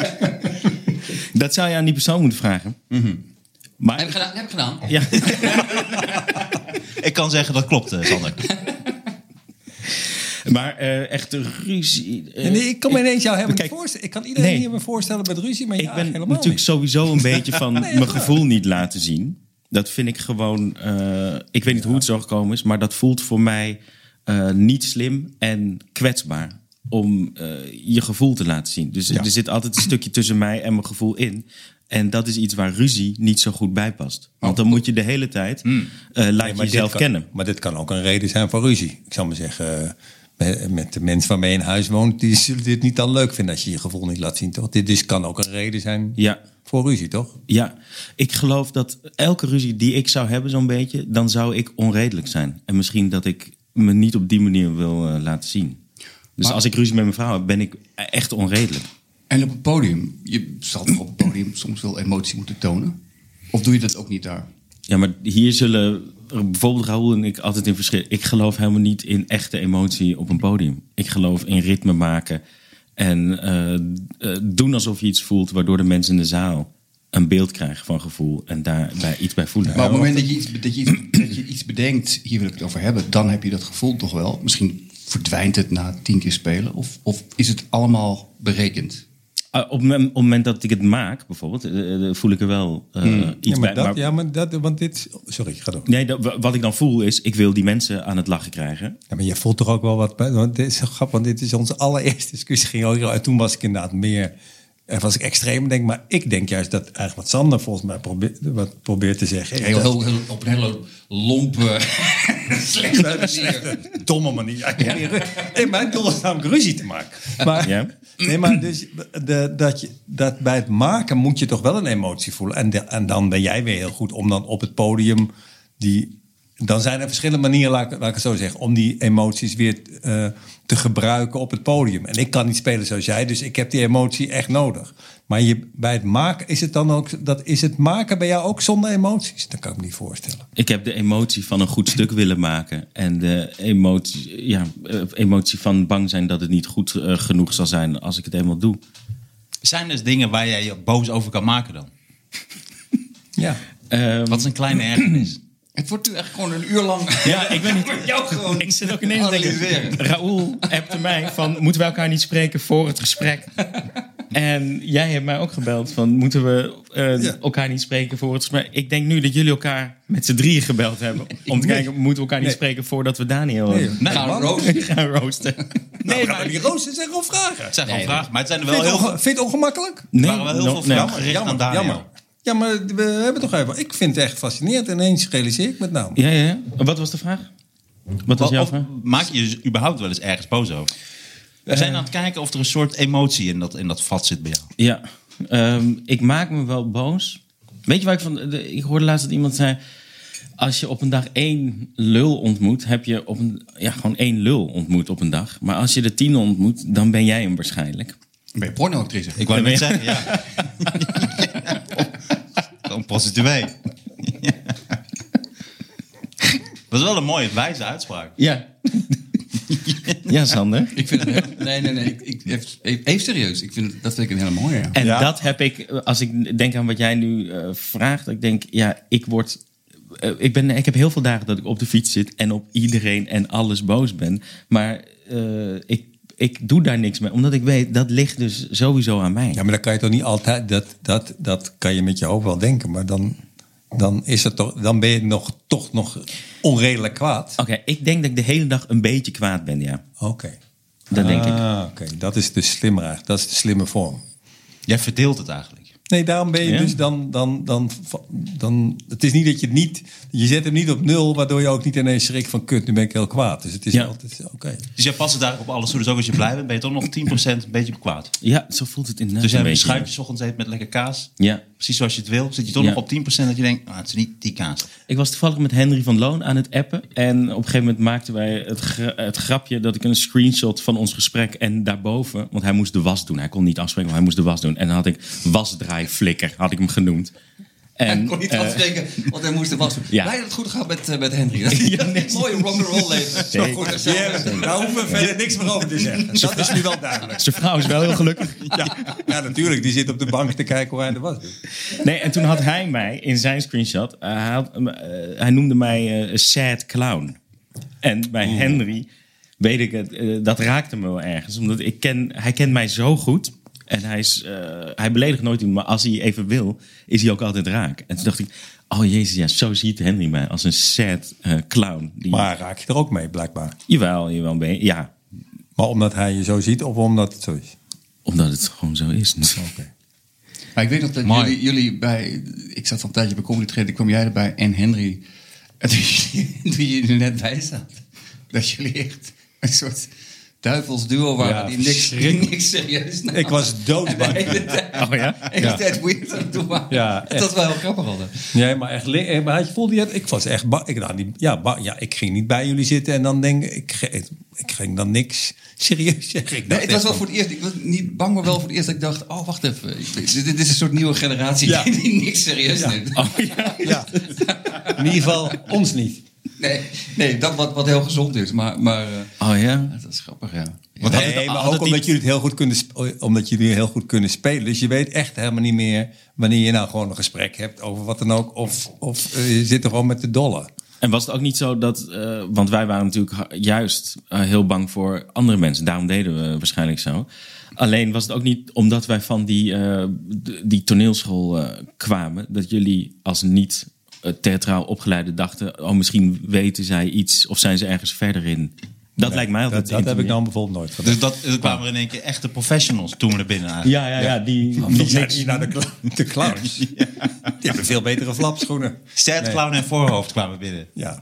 S6: dat zou je aan die persoon moeten vragen.
S4: Mhm.
S5: Heb ik
S6: Maar
S5: gedaan, heb ik gedaan.
S6: ja,
S2: Ik kan zeggen dat klopt, eh, Sander.
S6: maar eh echt een ruzie. eh,
S4: Nee, ik kan me ineens jou helemaal
S6: Kijk,
S4: niet voorstellen. Ik kan iedereen
S6: nee.
S4: hier me voorstellen met ruzie, maar
S6: ik
S4: ja,
S6: ben
S4: helemaal
S6: natuurlijk
S4: niet.
S6: sowieso
S4: [laughs]
S6: een beetje van
S4: Nee,
S6: mijn
S4: ja.
S6: gevoel niet laten zien. Dat vind ik gewoon. eh, ik weet niet hoe het zo gekomen is, maar dat voelt voor mij eh, niet slim en kwetsbaar om eh, je gevoel te laten zien. Dus er zit altijd een stukje tussen mij en mijn gevoel in. En dat is iets waar ruzie niet zo goed bij past. Want dan moet je de hele tijd eh,
S4: Oh.
S6: laat je
S4: Hmm. Maar dit
S6: jezelf
S4: kan-
S6: kennen.
S4: Maar dit kan ook een reden zijn voor ruzie. Ik zou maar zeggen, eh, met, met de mensen waarmee je in huis woont, die zullen dit niet dan leuk vinden als je je gevoel niet laat zien, toch? Dit dus kan ook een reden zijn
S6: Ja.
S4: voor ruzie, toch?
S6: Ja, ik geloof dat elke ruzie die ik zou hebben, zo'n beetje, dan zou ik onredelijk zijn. En misschien dat ik me niet op die manier wil eh, laten zien. Dus als ik ruzie met mijn vrouw heb, ben ik echt onredelijk.
S5: En op het podium, je zal toch op het podium soms wel emotie moeten tonen? Of doe je dat ook niet daar?
S6: Ja, maar hier zullen er bijvoorbeeld Raoul en ik altijd in verschil. Ik geloof helemaal niet in echte emotie op een podium. Ik geloof in ritme maken en eh, eh, doen alsof je iets voelt, waardoor de mensen in de zaal een beeld krijgen van gevoel en daarbij iets bij voelen.
S5: Maar op het moment dat je, iets, dat, [clears throat] je iets, dat je iets bedenkt, hier wil ik het over hebben, dan heb je dat gevoel toch wel. Misschien verdwijnt het na tien keer spelen, of, of is het allemaal berekend?
S6: Ah, op, mem- op het moment dat ik het maak, bijvoorbeeld, eh, eh, voel ik er wel eh, iets
S4: Hmm. Ja, maar
S6: bij.
S4: dat,
S6: maar-
S4: ja, maar dat, want dit... Sorry, ga door.
S6: Nee, dat- wa- wat ik dan voel is, ik wil die mensen aan het lachen krijgen.
S4: Ja, maar je voelt toch ook wel wat. bij- Want dit is zo grappig, want dit is onze allereerste discussie. Ging ook, en toen was ik inderdaad meer. eh, Was ik extreem, denk ik. Maar ik denk juist dat eigenlijk wat Sander volgens mij probeert, wat probeert te zeggen. is
S5: Heel,
S4: dat-
S5: heel, heel- op een hele lompe, [laughs] slechte
S4: Eh,
S5: manier.
S4: domme manier. Ja, ik probeer ru- Nee, mijn doel is namelijk ruzie te maken. Maar,
S6: Ja.
S4: Nee, maar dus de, dat je, dat bij het maken moet je toch wel een emotie voelen. En, de- en dan ben jij weer heel goed om dan op het podium die... Dan zijn er verschillende manieren, laat ik, laat ik het zo zeggen... om die emoties weer eh, te gebruiken op het podium. En ik kan niet spelen zoals jij, dus ik heb die emotie echt nodig. Maar je, bij het maken, is het dan ook... Dat, is het maken bij jou ook zonder emoties? Dat kan ik me niet voorstellen.
S6: Ik heb de emotie van een goed
S4: [laughs]
S6: stuk willen maken. En de emotie, ja, eh, emotie van bang zijn dat het niet goed eh, genoeg zal zijn als ik het eenmaal doe.
S2: Zijn dus dingen waar jij je boos over kan maken dan?
S4: Ja.
S6: Ehm,
S2: Wat is een kleine
S6: [clears throat]
S2: ergernis?
S5: Het wordt nu echt gewoon een uur lang.
S6: ja, ik
S5: [laughs]
S6: ben niet...
S5: jou gewoon.
S6: Ik zit ook ineens te
S5: Analyseren.
S6: denken, Raoul appte mij van, moeten we elkaar niet spreken voor het gesprek? En jij hebt mij ook gebeld van, moeten we eh, elkaar niet spreken voor het gesprek? Ik denk nu dat jullie elkaar met z'n drieën gebeld hebben. Om te kijken, moeten we elkaar niet spreken voordat we Daniel eh,
S5: Nee, Gaan
S4: man.
S5: roken.
S6: [laughs] gaan roosten?
S4: Nee, maar Nou, die roosters zijn gewoon vragen.
S2: Het zijn gewoon
S5: Nee,
S2: vragen, maar het zijn er wel
S4: Vind
S2: heel
S4: je het
S2: veel.
S4: onge- vind je het ongemakkelijk?
S6: Nee,
S2: waren wel heel
S6: no-
S2: veel
S6: nee.
S2: vragen gericht aan Daniel.
S4: Ah, Ja, maar we hebben toch even... Ik vind het echt fascinerend. Ineens realiseer ik nou. met name.
S6: Ja, ja, ja. Wat was de vraag? Wat was
S2: Wel,
S6: jouw
S2: of
S6: vraag? Eh.
S2: maak je je überhaupt wel eens ergens boos over? We zijn aan het kijken of er een soort emotie in dat, in dat vat zit bij jou.
S6: Ja, ehm, ik maak me wel boos. Weet je waar ik van... de- ik hoorde laatst dat iemand zei... Als je op een dag één lul ontmoet, heb je op een, ja, gewoon één lul ontmoet op een dag. Maar als je de tien ontmoet, dan ben jij hem waarschijnlijk.
S5: Ben je pornoactrice?
S2: Ik wou net zeggen,
S6: [laughs]
S2: ja. Gewoon prostituee. Dat is wel een mooie, wijze uitspraak.
S6: Ja. [laughs] ja, Sander.
S5: Ik vind het heel- Nee, nee, nee. Ik, ik, even, even serieus. Ik vind, het- dat vind ik een hele mooie. ja.
S6: En
S2: Ja.
S6: dat heb ik, als ik denk aan wat jij nu eh, vraagt, ik denk, ja, ik word. eh, ik, ben, ik heb heel veel dagen dat ik op de fiets zit en op iedereen en alles boos ben. Maar eh, ik, ik doe daar niks mee, omdat ik weet dat ligt dus sowieso aan mij.
S4: Ja, maar dat kan je toch niet altijd. Dat, dat, dat kan je met je hoofd wel denken, maar dan, dan, is het toch, dan ben je nog, toch nog onredelijk kwaad.
S6: Oké, ik denk dat ik de hele dag een beetje kwaad ben, ja.
S4: Oké.
S6: Dat denk ik.
S4: Ah, Oké, dat is de slimme, dat is de slimme vorm.
S2: Jij verdeelt het eigenlijk.
S4: Nee, daarom ben je
S6: Ja.
S4: dus dan, dan, dan, dan. Het is niet dat je het niet. Je zet hem niet op nul, waardoor je ook niet ineens schrikt van kut, nu ben ik heel kwaad. Dus het is
S6: Ja.
S4: altijd. Oké.
S2: Dus jij past het eigenlijk op alles toe. Dus ook als je blij bent, ben je toch nog 10% een beetje kwaad.
S6: Ja, zo voelt het inderdaad.
S2: Dus
S6: een
S2: jij een
S6: beetje,
S2: schuitje 's ochtends eet met lekker kaas.
S6: Ja.
S2: Precies zoals je het wil. Zit je toch
S6: Ja.
S2: nog op 10% dat je denkt, ah, het is niet die kaas.
S6: Ik was toevallig met Henry van Loon aan het appen. En op een gegeven moment maakten wij het, gra- het grapje dat ik een screenshot van ons gesprek en daarboven. Want hij moest de was doen. Hij kon niet afspreken, maar hij moest de was doen. En dan had ik wasdraaiflikker, had ik hem genoemd.
S5: En
S6: En,
S5: ik kon niet
S6: eh,
S5: afspreken, want hij moest de was doen.
S6: Ja.
S5: Blij dat het goed gaat met, eh, met Henry. [laughs] Dat is een mooie rock'n'roll leven. Zo
S6: Zeker.
S5: goed als Nou,
S4: Ja, daar
S5: [laughs]
S4: hoeven we verder niks meer over te zeggen. Dat is nu wel duidelijk.
S6: zijn vrouw is wel heel
S5: [laughs]
S6: gelukkig.
S4: Ja, ja, natuurlijk. Die zit op de bank te kijken hoe hij er was.
S6: Nee, en toen had hij mij in zijn screenshot, eh, hij, had, eh, hij noemde mij eh, een sad clown. En bij
S4: Mm.
S6: Henry weet ik het, eh, dat raakte me wel ergens. Omdat ik ken, hij kent mij zo goed. En hij, is, eh, hij beledigt nooit iemand, maar als hij even wil, is hij ook altijd raak. En toen dacht ik, oh jezus, ja, zo ziet Henry mij als een sad eh, clown. Die,
S4: Maar raak je er ook mee, blijkbaar.
S6: Jawel, jawel, ben je- ja.
S4: Maar omdat hij je zo ziet of omdat het zo is.
S6: Omdat het gewoon zo is.
S4: Oké.
S5: Maar ik weet nog dat
S2: Mooi.
S5: jullie, jullie bij... Ik zat al een tijdje bij Comedy Training, kwam jij erbij en Henry. [laughs] En toen jullie- toen je er net bij zat. Dat jullie echt een soort duivels duo waren
S4: Ja,
S5: die, niks, die niks serieus namen.
S4: Ik was
S5: En de
S4: doodsbang.
S5: hele tijd-
S6: Oh ja?
S5: de hele
S4: Ja.
S5: tijd weird aan het doen waren.
S4: Ja,
S5: dat was wel heel grappig hadden.
S4: Nee, maar echt. li- eh, Maar had je voelde je het? Ik was echt bang. Ik, nou, die- ja, ba- ja, ik ging niet bij jullie zitten en dan denk ik, ik, ge- ik ging dan niks serieus zeggen. Ik
S5: Nee,
S4: dacht
S5: het
S4: echt
S5: was wel
S4: van-
S5: voor het eerst, ik was niet bang, maar wel voor het eerst dat ik dacht, oh wacht even, ik- dit, dit is een soort nieuwe generatie
S4: Ja.
S5: die niks serieus neemt.
S6: Oh ja.
S4: Ja. [laughs] In ieder geval ons niet.
S5: Nee, nee dat wat, wat heel gezond is, maar, maar eh,
S6: Oh ja.
S5: dat is grappig, ja.
S4: Want
S6: had het-
S4: nee, maar
S6: had
S4: ook
S6: het
S4: omdat
S6: niet-
S4: jullie het heel goed kunnen, sp- oh, omdat jullie heel goed kunnen spelen. Dus je weet echt helemaal niet meer wanneer je nou gewoon een gesprek hebt over wat dan ook. Of, of eh, je zit er gewoon met de dolle.
S6: En was het ook niet zo dat, eh, want wij waren natuurlijk ha- juist eh, heel bang voor andere mensen. Daarom deden we waarschijnlijk zo. Alleen was het ook niet omdat wij van die, eh, d- die toneelschool eh, kwamen, dat jullie als niet eh, theatraal opgeleide dachten, oh misschien weten zij iets of zijn ze ergens verder in. Dat lijkt mij
S4: Dat,
S6: altijd.
S4: dat heb ik dan bijvoorbeeld nooit van.
S2: Dus dat er kwamen in één keer echte professionals toen we er binnen aan.
S6: Ja, ja, ja, die.
S4: Die zijn hier naar de, cla- de [laughs] clowns. Die hebben veel betere flapschoenen.
S2: Sad
S4: Nee.
S2: clown en voorhoofd kwamen binnen.
S4: Ja.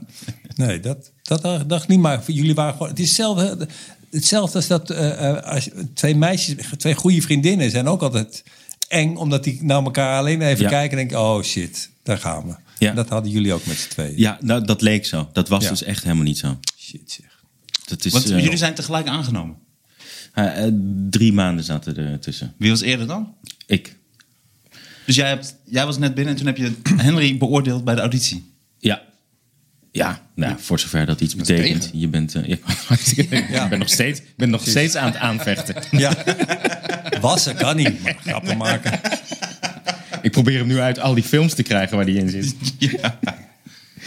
S4: Nee, dat, dat dacht- dacht ik niet. Maar voor jullie waren gewoon... Het is hetzelfde, hetzelfde als dat eh, eh, als, twee meisjes, twee goede vriendinnen zijn ook altijd eng. Omdat die naar elkaar alleen even
S6: Ja.
S4: kijken en denken, oh shit, daar gaan we.
S6: Ja.
S4: Dat hadden jullie ook met z'n tweeën.
S6: Ja, nou, dat leek zo. Dat was
S4: Ja.
S6: dus echt helemaal niet zo.
S4: Shit zeg.
S6: Dat is,
S2: Want
S6: eh,
S2: jullie zijn tegelijk aangenomen.
S6: eh, eh, drie maanden zaten er tussen.
S2: Wie was eerder dan?
S6: Ik.
S2: Dus jij, hebt, jij was net binnen en toen heb je [clears throat] Henry beoordeeld bij de auditie.
S6: Ja. Ja, nou, voor zover dat iets betekent.
S5: tegen.
S6: je bent, eh, [laughs] ja, ik ben nog steeds, ik ben nog steeds aan het aanvechten.
S4: Ja. [laughs] Wassen kan niet, maar grappen
S2: [laughs]
S4: maken.
S6: Ik probeer hem nu uit al die films te krijgen waar hij in zit.
S5: Maar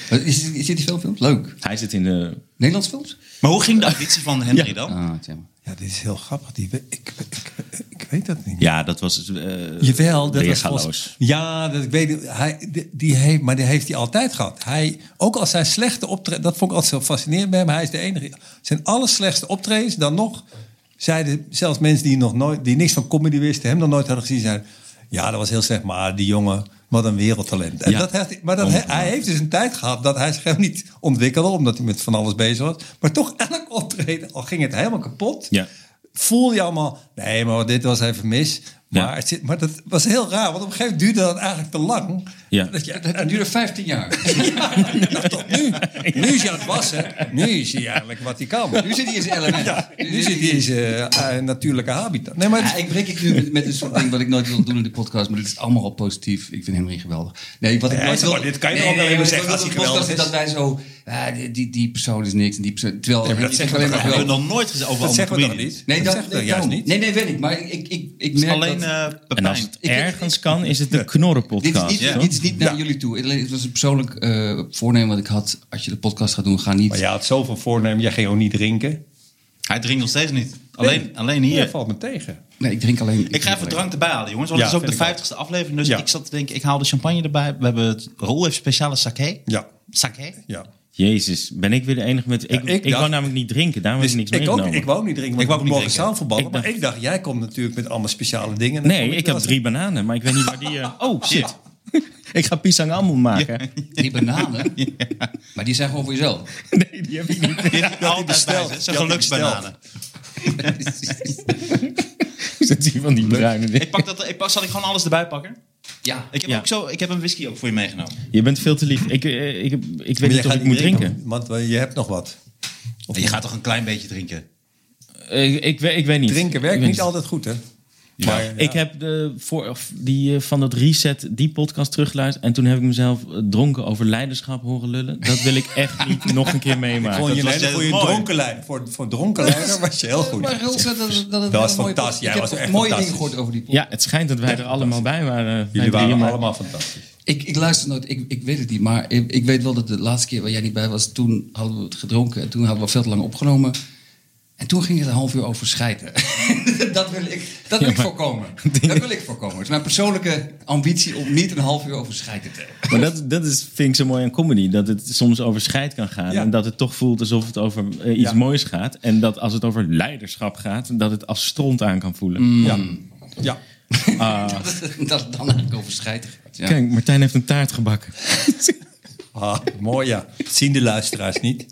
S5: eh, Is, is dit die veel films? Leuk.
S6: Hij zit in de...
S5: Nederlands films?
S2: Maar hoe ging de auditie van Henry dan?
S5: Ah, tja.
S4: Ja, dit is heel grappig. Die, we- ik, ik, ik, ik weet dat niet.
S6: Ja, dat was... eh
S4: Jawel, dat was
S6: weergaloos.
S4: volgens- Ja, dat ik weet hij, die, die heeft, maar die heeft hij altijd gehad. Hij, ook als zijn slechte optreden, dat vond ik altijd zo fascinerend bij hem. Hij is de enige. Zijn allerslechtste optredens, dan nog zeiden zelfs mensen die nog nooit, die niks van comedy wisten, hem nog nooit hadden gezien, zeiden: ja, dat was heel slecht, maar die jongen, wat een wereldtalent. En
S6: Ja.
S4: dat heeft, maar dat, hij- hij heeft dus een tijd gehad dat hij zich helemaal niet ontwikkelde, omdat hij met van alles bezig was. Maar toch elk optreden, al ging het helemaal kapot
S6: Ja.
S4: voel je allemaal, nee, maar dit was even mis.
S6: Ja.
S4: Maar, het zit, maar dat was heel raar, want op een gegeven moment duurde dat eigenlijk te lang.
S6: Ja.
S4: Dat je,
S5: Het duurde 15
S4: [laughs]
S5: jaar.
S4: Nou, tot nu. Nu is hij aan het wassen. Nu is hij eigenlijk wat hij kan.
S5: Nu zit hij in zijn element.
S4: Nu zit hij in zijn eh, natuurlijke habitat. Nee, maar
S5: Ja,
S4: het-
S5: ik breek ik nu met, met een soort ding wat ik nooit wil doen in de podcast, maar dit is allemaal al positief. Ik vind Henry geweldig. Nee, wat ik
S4: Nee,
S5: nooit wil.
S4: maar dit kan je toch ook alleen maar zeggen
S5: wat
S4: als
S5: ik wil
S4: hij
S5: in de
S4: geweldig
S5: podcast is Dat wij zo, ah, die, die, die persoon is niks en die persoon. Terwijl
S4: Nee, maar dat
S5: Henry
S4: zeggen
S5: alleen
S4: we
S5: maar
S4: toch
S2: We
S5: wel.
S2: hebben nog nooit gezegd over
S4: dat
S2: andere
S4: zeggen we toch
S2: comedians.
S4: niet?
S5: Nee, dat,
S4: zeggen we
S5: nee,
S4: juist
S5: daarom.
S4: niet.
S5: Nee, nee, weet ik. Maar ik, ik, ik, ik
S2: Het is
S5: merk
S2: alleen
S5: dat...
S2: eh
S6: En
S2: Pepijn.
S6: als het
S5: Ik-
S6: ergens kan, is het de knorrenpodcast.
S5: Dit is niet,
S2: Ja.
S5: dit is niet naar jullie toe. Alleen, Het was een persoonlijk eh, voornemen wat ik had. Als je de podcast gaat doen, ga niet...
S4: Maar jij had zoveel voornemen, jij ging ook niet drinken.
S2: Hij drinkt nog steeds niet. Alleen, alleen hier.
S4: Ja, valt me tegen.
S5: Nee, ik drink alleen...
S2: Ik ga even
S5: drank.
S2: drank erbij halen, jongens. Want
S4: Ja,
S2: het is ook
S4: vind
S2: de
S4: ik ook.
S2: 50ste aflevering. Dus
S4: Ja.
S2: ik zat te denken, ik haal de champagne erbij. We hebben het, Roel heeft speciale sake.
S4: Ja,
S2: Sake?
S4: ja.
S6: Jezus, ben ik weer de enige met... Ik,
S4: ik
S6: ik,
S4: dacht-
S6: wou namelijk niet drinken, daarom heb
S4: Dus
S6: ik niks
S4: ik, ook,
S6: meegenomen.
S4: ik wou niet drinken,
S2: Ik
S4: want
S2: wou
S4: ik
S2: ook niet
S4: mogen
S2: drinken.
S4: zaalvoetballen.
S6: Ik
S4: Maar
S6: dacht-
S4: ik dacht, jij komt natuurlijk met allemaal speciale dingen. En dan
S6: Nee,
S4: kom wel
S6: ik heb
S4: eens-
S6: drie bananen, maar ik weet niet waar die... eh, oh, shit.
S2: Shit.
S6: ik ga pisang allemaal maken.
S5: Die bananen,
S4: [laughs]
S5: maar die zijn gewoon voor
S6: [laughs]
S5: jezelf.
S6: Nee, die heb ik niet.
S2: Die heb ik altijd bij
S4: besteld.
S2: ze. Het zijn
S4: Die had hij
S2: geluksbananen.
S6: Zit die van die bruine
S2: Ik pak dat, ik pak, zal ik gewoon alles erbij pakken?
S5: Ja,
S2: Ik heb,
S6: Ja.
S2: ook zo, ik heb een whisky ook voor je meegenomen.
S6: Je bent veel te lief. Ik, eh, ik, ik, weet
S4: Maar
S6: niet
S4: jij
S6: of
S4: gaat
S6: ik moet drinken.
S4: Want eh, je hebt nog wat.
S2: En je gaat toch een klein beetje drinken?
S6: Eh, ik, weet- ik weet niet.
S4: Drinken werkt
S6: Ik weet
S4: niet altijd goed, hè? Maar, ja.
S6: Ik heb de, voor, of die, eh, van dat reset die podcast teruggeluisterd. En toen heb ik mezelf eh, dronken over leiderschap horen lullen. Dat wil ik
S4: [laughs]
S6: echt niet nog een keer meemaken.
S4: Vond je
S2: dat
S4: een
S2: was
S4: hele
S2: heel
S4: goede
S2: mooi.
S4: dronkenlijn. Voor, voor dronkenlijnen was je heel goed.
S5: Maar Rul zei dat, dat, het
S4: Dat was
S5: heel mooi
S4: fantastisch. Jij
S5: Ik
S4: was
S5: heb
S4: echt
S5: mooie dingen
S4: fantastisch.
S5: gehoord over die podcast.
S6: Ja, het schijnt dat wij er allemaal bij waren. eh, wij
S4: Jullie
S6: drieën,
S4: waren
S6: maar-
S4: allemaal fantastisch.
S5: Ik, ik luister nooit, ik, ik weet het niet, maar ik, ik weet wel dat de laatste keer waar jij niet bij was, toen hadden we het gedronken en toen hadden we veel te lang opgenomen. En toen ging het een half uur over scheiden. [laughs] dat wil ik, dat wil ik
S4: [laughs]
S5: voorkomen. Dat wil ik voorkomen. Het is mijn persoonlijke ambitie om niet een half uur over scheiden te
S6: Maar
S5: hebben.
S6: dat, dat is, vind ik zo mooi aan comedy. Dat het soms over scheid kan gaan.
S4: Ja.
S6: En dat het toch voelt alsof het over eh, iets
S4: Ja.
S6: moois gaat. En dat als het over leiderschap gaat, dat het als stront aan kan voelen.
S4: Ja. ja. Ah.
S5: [laughs] dat het dan eigenlijk over scheiden gaat. Ja.
S6: Kijk, Martijn heeft een taart gebakken.
S4: Ah, mooi ja. Dat zien de luisteraars niet.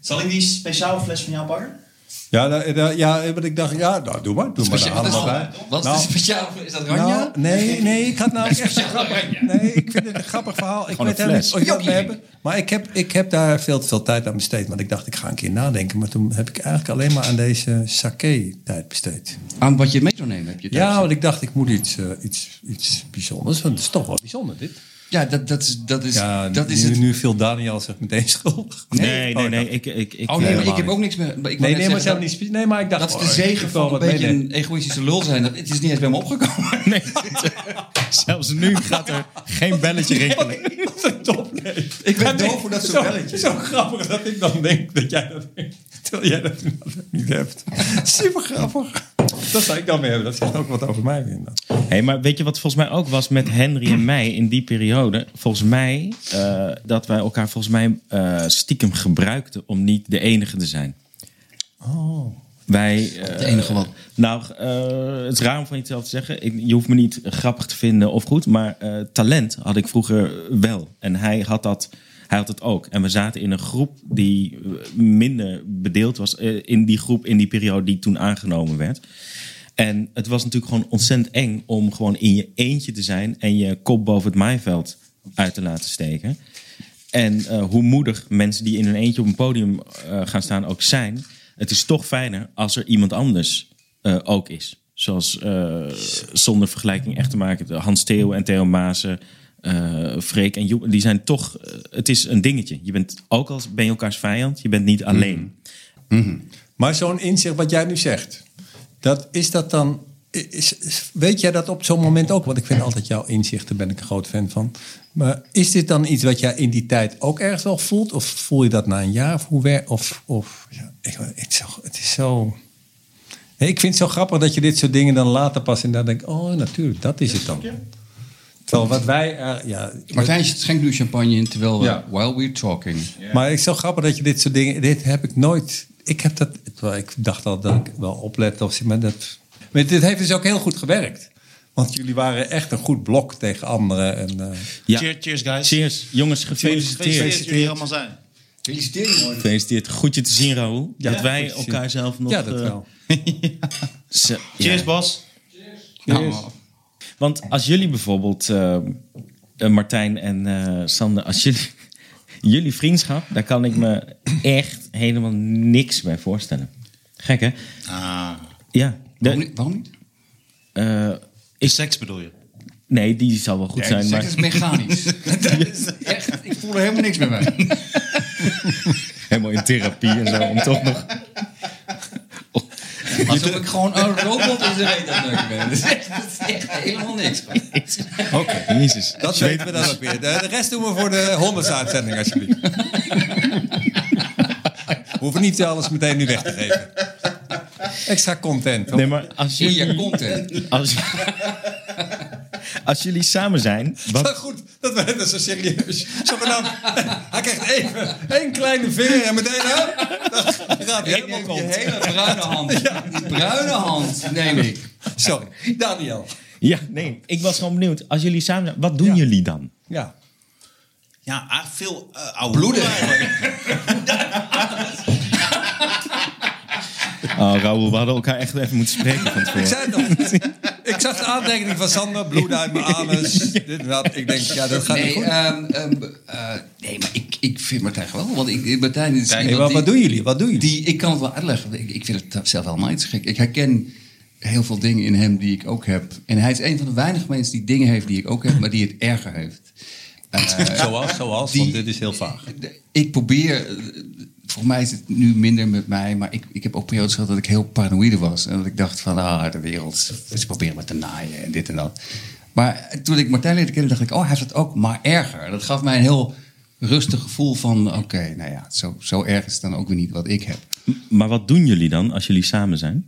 S2: Zal ik die speciale fles van jou pakken?
S4: Ja, da- da- ja, eh, want ik dacht, ja, nou, doe maar. Doe maar
S5: Wat is-
S4: daar allemaal bij.
S5: Wat is
S4: Nou,
S5: het speciaal? Is dat Ranja?
S4: nou, nee, nee, ik had namelijk echt een grappig... Nee, ik vind het een grappig verhaal. Ik
S6: Gewoon een
S4: weet helemaal
S6: fles.
S4: niet of je dat
S5: Jokie.
S4: mee hebben. Maar ik heb, ik heb daar veel te veel tijd aan besteed. Want ik dacht, ik ga een keer nadenken. Maar toen heb ik eigenlijk alleen maar aan deze sake tijd besteed.
S5: Aan wat je mee zou nemen heb je het
S4: Ja, want ik dacht, ik moet iets, eh, iets, iets bijzonders. Want het is toch wel bijzonder, dit.
S5: ja dat, dat is, dat is,
S4: Ja,
S5: dat is
S4: nu,
S5: het.
S4: nu viel Daniel zich meteen schuldig.
S6: Nee, nee,
S4: Oh,
S6: nee. Ik, ik, ik, eh,
S5: Oh nee, maar ik
S4: helemaal
S5: heb
S4: niet.
S5: ook niks meer. maar Ik wou
S4: Nee,
S5: net
S4: nee, maar,
S5: zeggen
S4: zelf niet, spe- nee, maar ik dacht...
S5: Dat is
S4: oh,
S5: de
S4: ik
S5: zegen
S4: heb wel
S5: van een
S4: wat
S5: beetje
S4: meenemen.
S5: een egoïstische lul zijn. Dat- Het is niet eens bij me opgekomen.
S4: [laughs]
S6: Nee, [laughs] zelfs nu gaat er geen
S5: [laughs]
S6: belletje rinkelen.
S4: Wat een top, nee.
S5: Ik ben
S4: Nee,
S5: doof voor dat soort
S4: zo-
S5: belletjes.
S4: Zo grappig dat ik dan denk dat jij dat denkt. Terwijl jij dat niet hebt. Super grappig. Dat zou ik dan mee hebben. Dat zegt ook wat over mij weer. dan.
S6: Hey, maar weet je wat volgens mij ook was met Henry en mij in die periode? Volgens mij eh, dat wij elkaar volgens mij eh, stiekem gebruikten om niet de enige te zijn. Wij, eh,
S5: De enige Oh. wat.
S6: Nou, eh, het is raar om van jezelf te zeggen. Ik, je hoeft me niet grappig te vinden of goed. Maar eh, talent had ik vroeger wel. En hij had dat. Hij had het ook. En we zaten in een groep die eh, minder bedeeld was. eh, in die groep, in die periode die toen aangenomen werd. En het was natuurlijk gewoon ontzettend eng om gewoon in je eentje te zijn. En je kop boven het maaiveld uit te laten steken. En eh, hoe moedig mensen die in hun eentje op een podium eh, gaan staan ook zijn. Het is toch fijner als er iemand anders eh, ook is. Zoals eh, zonder vergelijking echt te maken. de Hans Theo en Theo Maassen, eh, Freek en Joep. Die zijn toch, eh, het is een dingetje. Je bent, ook al ben je elkaars vijand, je bent niet alleen.
S4: Maar zo'n inzicht wat jij nu zegt. Dat is dat dan... Is, is- weet jij dat op zo'n moment ook? Want ik vind altijd jouw inzichten, ben ik een groot fan van. Maar is dit dan iets wat jij in die tijd ook ergens wel voelt? Of voel je dat na een jaar? Of, hoe wer- of, of ja, ik, het, is zo, het is zo... Nee, ik vind het zo grappig dat je dit soort dingen dan later pas en dan denkt, oh natuurlijk, dat is het dan. Terwijl wat wij, eh, ja,
S5: Martijn schenkt nu champagne in terwijl we,
S4: Ja.
S5: while we're talking.
S4: maar het is zo grappig dat je dit soort dingen, dit heb ik nooit, ik heb dat, terwijl ik dacht al dat ik wel oplette of zo, maar dat, maar dit heeft dus ook heel goed gewerkt. Want jullie waren echt een goed blok tegen anderen. En, eh,
S6: Ja.
S2: Cheers, cheers, guys.
S6: Cheers, jongens,
S2: Gefeliciteerd
S6: gefeliciteerd.
S2: dat jullie er allemaal zijn.
S5: Feliciteer mooi.
S6: Gefeliciteerd. Goed je te zien, Raoul. dat wij
S4: goed te zien.
S6: elkaar zelf nog...
S4: ja, dat
S6: eh,
S4: wel.
S6: ze- eh, ja.
S2: Cheers, Bas.
S5: Nou,
S4: Yes.
S6: Want als jullie bijvoorbeeld, eh, eh, Martijn en eh Sander, als jullie, [laughs] jullie vriendschap, daar kan ik me echt helemaal niks bij voorstellen. Gek hè?
S2: Ah,
S6: Ja. de-
S5: waarom, niet, waarom niet?
S6: eh,
S2: is seks bedoel je?
S6: nee, die zal wel goed
S5: Ja,
S6: zijn.
S5: seks
S6: Maar,
S5: is
S4: [laughs]
S5: mechanisch. dat is echt, ik voel er helemaal niks meer bij.
S6: [laughs] helemaal in therapie en zo, om toch nog...
S5: Alsof ik gewoon een robot in de reet aan het neuken ben. Dat is echt, dat is echt helemaal niks.
S4: [laughs] Oké.
S6: Jezus.
S4: Dat weten we dan ook weer. De, de rest doen we voor de Hondas-uitzending, alsjeblieft. we hoeven niet alles meteen nu weg te geven. Extra content. hoor.
S6: Nee, maar als
S5: In
S6: jullie,
S5: je content.
S6: als, [laughs] als jullie samen zijn,
S4: [laughs]
S6: wat,
S4: Maar goed, dat werd dus zo serieus. Zogenaamd, hij krijgt even één kleine vinger en meteen... Hè, dan gaat hij helemaal
S5: Je
S4: rond.
S5: hele bruine hand. Die bruine hand neem ik.
S4: Sorry,
S5: [laughs]
S4: Daniel.
S6: Ja, nee, ik was gewoon benieuwd. Als jullie samen zijn, wat doen jullie dan?
S4: Ja.
S2: Ja, ah, veel eh oude
S5: Bloeden.
S6: [laughs] Oh, Raoul, we hadden elkaar echt even moeten spreken van
S4: Ik
S6: tevoren.
S4: zei het nog. Ik zag de aantekening van Sander, bloed uit mijn
S2: [laughs]
S4: anus. Dit en dat. Ik denk, ja, dat gaat niet
S5: Nee,
S4: goed.
S5: ehm, ehm, eh, nee, maar ik, ik vind Martijn geweldig. Want ik, Martijn is
S4: Hey,
S5: iemand
S4: wat,
S5: die-
S4: wat doen jullie? Wat doen jullie?
S5: Die, ik kan het wel uitleggen. want Ik, ik vind het zelf helemaal niet zo gek. Ik herken heel veel dingen in hem die ik ook heb. En hij is een van de weinige mensen die dingen heeft die ik ook heb, maar die het erger heeft.
S4: zoals, zoals,
S5: die-
S4: want dit is heel vaag.
S5: De- Ik probeer, eh, volgens mij is het nu minder met mij, maar ik, ik heb ook periodes gehad dat ik heel paranoïde was. En dat ik dacht van, ah, de wereld, ze proberen me te naaien en dit en dat. Maar toen ik Martijn leerde kennen, dacht ik, oh, hij heeft het ook, maar erger. Dat gaf mij een heel rustig gevoel van, oké, nou ja, zo, zo erg is het dan ook weer niet wat ik heb.
S6: Maar wat doen jullie dan als jullie samen zijn?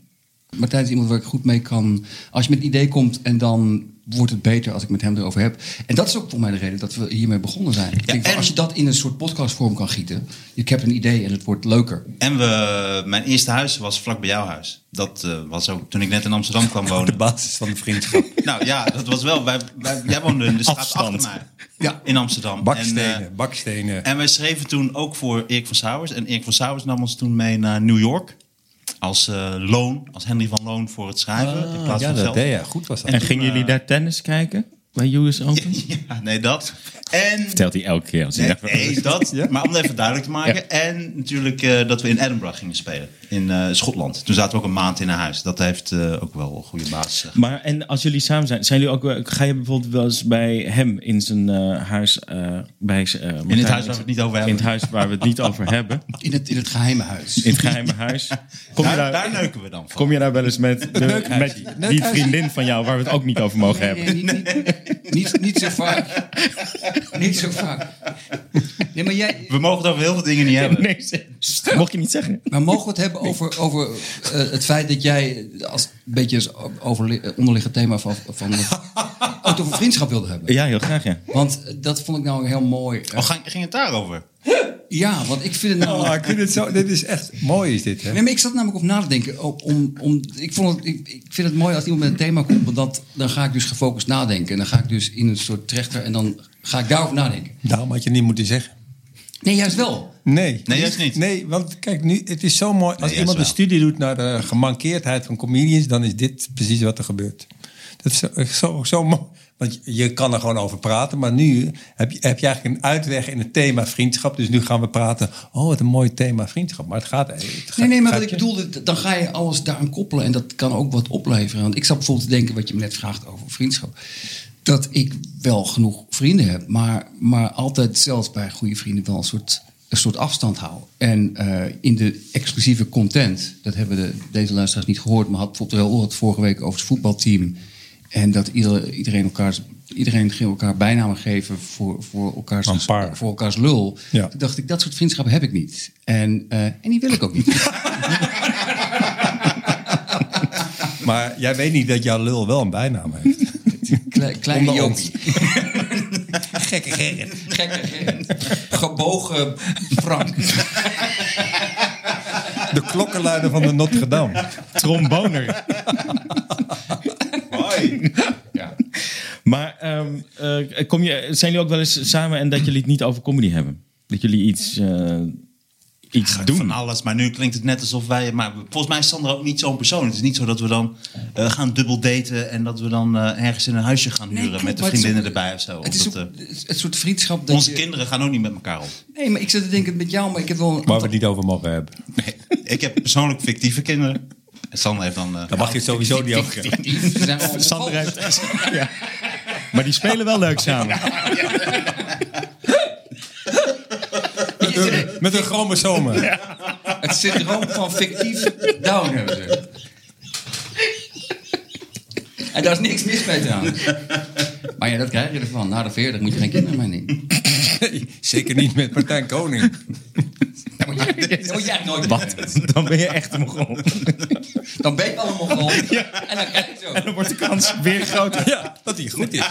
S5: Martijn is iemand waar ik goed mee kan. Als je met een idee komt en dan wordt het beter als ik met hem erover heb. En dat is ook voor mij de reden dat we hiermee begonnen zijn. Ik denk van,
S2: en-
S5: als je dat in een soort podcastvorm kan gieten. Ik heb een idee en het wordt leuker.
S2: En we, mijn eerste huis was vlak bij jouw huis. Dat eh, was ook toen ik net in Amsterdam kwam
S4: [laughs] De
S6: [laughs]
S2: wonen.
S4: basis van de vriendschap.
S2: nou ja, dat was wel. Wij, wij, jij woonde in de straat
S6: Afstand.
S2: achter mij.
S5: Ja.
S2: In Amsterdam.
S4: Bakstenen,
S2: En, eh,
S4: bakstenen.
S2: En wij schreven toen ook voor Erik van Sauers. En Erik van Sauers nam ons toen mee naar New York. Als eh, loon, als Henry van Loon voor het schrijven.
S6: Ah,
S2: in plaats
S4: ja,
S2: van
S4: dat
S2: geld.
S4: deed je. Goed was dat.
S6: En gingen jullie daar tennis kijken? Bij US Open?
S2: Ja, nee, dat. En.
S6: Vertelt hij elke keer. Als hij
S2: Nee,
S6: daar-
S2: nee, dat. Maar om het even duidelijk te maken. En natuurlijk eh, dat we in Edinburgh gingen spelen. In eh, Schotland. Toen zaten we ook een maand in een huis. Dat heeft eh, ook wel een goede basis. eh,
S6: Maar en als jullie samen zijn, zijn jullie ook, wel- ga je bijvoorbeeld wel eens bij hem in zijn eh, huis, eh, bij zijn, eh, Martijn,
S2: In het huis waar we het niet over
S6: in
S2: hebben.
S6: het huis waar we het niet over hebben,
S5: In het, in het geheime huis.
S6: in het geheime huis, kom je
S2: daar,
S6: daar,
S2: daar neuken we dan van.
S6: kom je daar wel eens met, de- met die vriendin van jou waar we het ook niet over mogen hebben?
S5: [laughs] Nee, niet, niet, niet, niet zo vaak. Niet zo vaak. Nee, maar, jij,
S2: We mogen het over heel veel dingen niet hebben.
S6: Nee, zeg- mocht je niet zeggen.
S5: maar mogen we het hebben over, over eh, het feit dat jij als een beetje als overli- onderliggend thema van, van ook over vriendschap wilde hebben?
S6: Ja, heel graag, ja.
S5: Want dat vond ik nou heel mooi. eh,
S2: Oh, ging, ging het daarover?
S5: Ja, want ik vind het nou.
S4: Oh, ik vind het zo, dit is echt mooi is dit, hè?
S5: Nee, maar ik zat namelijk over na te denken. Om, om, om- ik, vond het, ik, ik vind het mooi als iemand met een thema komt. Want dat, dan ga ik dus gefocust nadenken. En dan ga ik dus in een soort trechter. En dan ga ik daarover nadenken.
S4: Daarom had je niet moeten zeggen.
S5: Nee, juist wel.
S4: Nee.
S2: Nee, juist niet.
S4: Nee, want kijk, nu, het is zo mooi. Als
S2: juist
S4: iemand een
S2: wel.
S4: studie doet naar de gemankeerdheid van comedians... dan is dit precies wat er gebeurt. Dat is zo, eh, zo, zo mooi. Want je- je kan er gewoon over praten. Maar nu heb je, heb je eigenlijk een uitweg in het thema vriendschap. Dus nu gaan we praten. Oh, wat een mooi thema vriendschap. Maar het gaat... Het gaat-
S5: Nee, nee, maar
S4: gaat
S5: wat ik
S4: je-
S5: bedoel, dat- dan ga je alles daaraan koppelen. En dat kan ook wat opleveren. Want ik zat bijvoorbeeld te denken, wat je me net vraagt over vriendschap. Dat ik wel genoeg vrienden heb. Maar, maar altijd zelfs bij goede vrienden wel een soort, een soort afstand hou. En eh, in de exclusieve content, dat hebben de, deze luisteraars niet gehoord. Maar had bijvoorbeeld heel het vorige week over het voetbalteam. En dat ieder- iedereen elkaar... Iedereen ging elkaar bijnamen geven voor, voor, elkaars,
S4: Een paar.
S5: voor elkaars lul.
S4: Ja.
S5: Toen dacht ik, dat soort vriendschap heb ik niet. En, eh, en die wil ik ook niet.
S4: Maar jij weet niet dat jouw lul wel een bijnaam heeft.
S5: Kle- kleine
S4: Onder
S5: Jopie. [laughs] Gekke Gerrit. Gekke Gerrit. Gebogen Frank.
S4: De klokkenluider van de Notre Dame.
S6: Tromboner. [laughs]
S2: Hoi.
S6: Maar ehm, eh, kom je, zijn jullie ook wel eens samen en dat jullie het niet over comedy hebben? Dat jullie iets, eh, iets
S2: Ga ik
S6: doen.
S2: Van alles. Maar nu klinkt het net alsof wij. Maar volgens mij is Sandra ook niet zo'n persoon. Het is niet zo dat we dan eh, gaan dubbel daten. en dat we dan eh, ergens in een huisje gaan
S5: Nee,
S2: huren.
S5: klopt,
S2: met de
S5: maar het is
S2: vriendinnen
S5: ook-
S2: erbij of zo.
S5: Het is ook
S2: Omdat,
S5: het soort vriendschap
S2: eh,
S5: dat
S2: onze
S5: je...
S2: kinderen gaan ook niet met elkaar
S5: [laughs]
S2: om.
S5: Nee, maar ik zit te denken met jou, maar ik heb wel...
S3: Waar we het niet over mogen hebben.
S2: Nee, ik heb persoonlijk fictieve kinderen. En Sandra heeft dan. eh,
S3: Daar mag je het sowieso
S5: [laughs]
S3: niet over hebben.
S5: We zijn al-
S6: Sander heeft- [laughs] ja. Maar die spelen wel leuk samen.
S3: Met een
S5: [laughs]
S3: chromosomen.
S5: Het syndroom van fictief down hebben ze. En daar is niks mis mee trouwens. Maar ja, dat krijg je ervan. Na de 40 moet je geen kinderen meer nemen.
S3: Zeker niet met Martijn
S4: [laughs]
S3: Koning.
S6: [laughs]
S5: Dat moet je, [laughs] dat moet je eigenlijk nooit meer hebben.
S6: Dan ben je echt een Mongool.
S5: Dan ben je al een
S6: [laughs]
S5: mongool. En dan krijg je zo.
S6: Dan wordt de kans weer groter.
S3: Ja, dat hij goed is.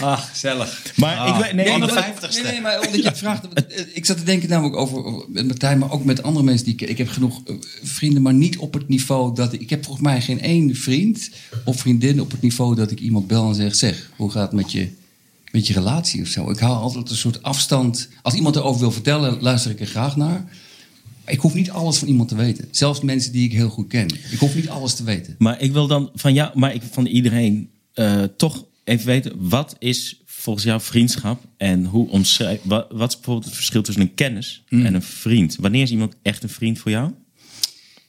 S3: Ah, gezellig.
S6: Maar ik weet... Ah. Nee,
S2: van de
S6: ik-
S2: vijftigste.
S5: Nee, nee, maar omdat je het vraagt. eh, Ik zat te denken namelijk over, over- met Martijn, maar ook met andere mensen die ik ken. Ik heb genoeg eh, vrienden, maar niet op het niveau dat ik... Ik heb volgens mij geen één vriend of vriendin op het niveau dat ik iemand bel en zeg... Zeg, hoe gaat het met je, met je relatie of zo? Ik hou altijd een soort afstand. Als iemand erover wil vertellen, luister ik er graag naar. Maar Ik hoef niet alles van iemand te weten. Zelfs mensen die ik heel goed ken. Ik hoef niet alles te weten.
S6: Maar ik wil dan van jou, maar ik, van iedereen eh, toch even weten. Wat is volgens jou vriendschap? En hoe omschrijf... Wat, wat is bijvoorbeeld het verschil tussen een kennis en een vriend? Wanneer is iemand echt een vriend voor jou?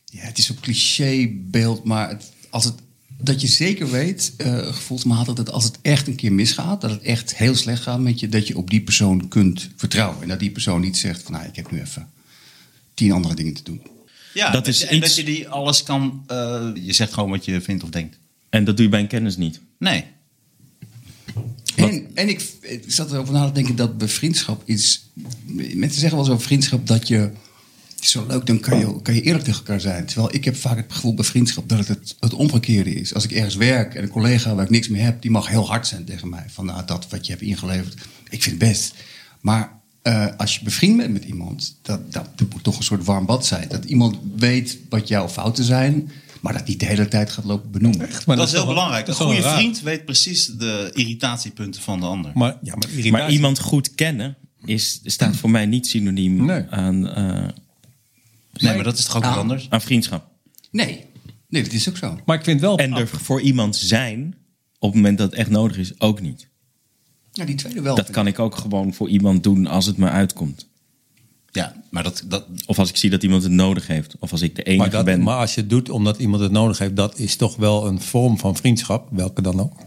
S5: Ja, het is zo'n clichébeeld, maar het, als het, dat je zeker weet, eh gevoelsmatig, dat als het echt een keer misgaat, dat het echt heel slecht gaat met je, dat je op die persoon kunt vertrouwen. En dat die persoon niet zegt van, nou, ik heb nu even tien andere dingen te doen.
S2: ja,
S6: dat
S2: dat
S6: is
S2: is en
S6: iets-
S2: dat je die alles kan. eh, je zegt gewoon wat je vindt of denkt.
S6: En dat doe je bij een kennis niet.
S2: Nee.
S5: En, en ik, ik zat erover na te denken dat bij vriendschap is. Mensen zeggen wel zo vriendschap dat je. Het is zo leuk, dan kan je, kan je eerlijk tegen elkaar zijn. Terwijl ik heb vaak het gevoel bij vriendschap dat het, het het omgekeerde is. Als ik ergens werk en een collega waar ik niks mee heb, die mag heel hard zijn tegen mij. Van nou, dat wat je hebt ingeleverd, ik vind het best. Maar eh, als je bevriend bent met iemand, dat, dat, dat moet toch een soort warm bad zijn. Dat iemand weet wat jouw fouten zijn, maar dat niet de hele tijd gaat lopen benoemen.
S3: Maar
S2: dat is heel
S3: toch wel-
S2: belangrijk. Een
S3: dat is wel
S2: goede
S3: raar.
S2: vriend weet precies de irritatiepunten van de ander.
S3: Maar, ja, maar, irritatie-
S6: Maar iemand goed kennen is, staat voor mij niet synoniem
S3: Nee.
S6: aan, eh,
S2: Nee, maar dat is toch ook
S5: Ah.
S2: weer anders?
S6: aan vriendschap.
S5: Nee, nee, dat is ook zo.
S3: maar ik vind wel...
S6: En er voor iemand zijn, op het moment dat het echt nodig is, ook niet.
S5: Ja, die tweede wel.
S6: Dat kan ik ook gewoon voor iemand doen als het me uitkomt.
S2: Ja, maar dat, dat,
S6: Of als ik zie dat iemand het nodig heeft. Of als ik de enige
S3: maar, dat,
S6: ben.
S3: maar als je het doet omdat iemand het nodig heeft, dat is toch wel een vorm van vriendschap, welke dan ook.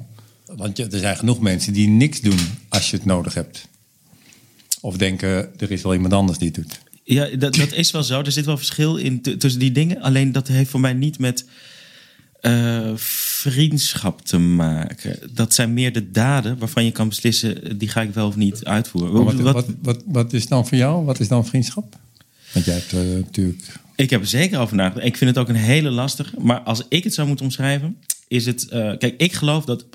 S3: Want je, er zijn genoeg mensen die niks doen als je het nodig hebt. Of denken, er is wel iemand anders die het doet.
S6: Ja, dat, dat is wel zo. Er zit wel verschil in t- tussen die dingen. Alleen dat heeft voor mij niet met eh, vriendschap te maken. Dat zijn meer de daden waarvan je kan beslissen... eh, die ga ik wel of niet uitvoeren.
S3: Maar Wat,
S6: Wat-
S3: wat, wat, wat is dan voor jou? Wat is dan vriendschap? Want jij hebt eh, natuurlijk...
S6: Ik heb er zeker over nagedacht. Ik vind het ook een hele lastige. Maar als ik het zou moeten omschrijven, is het. eh, kijk, ik geloof dat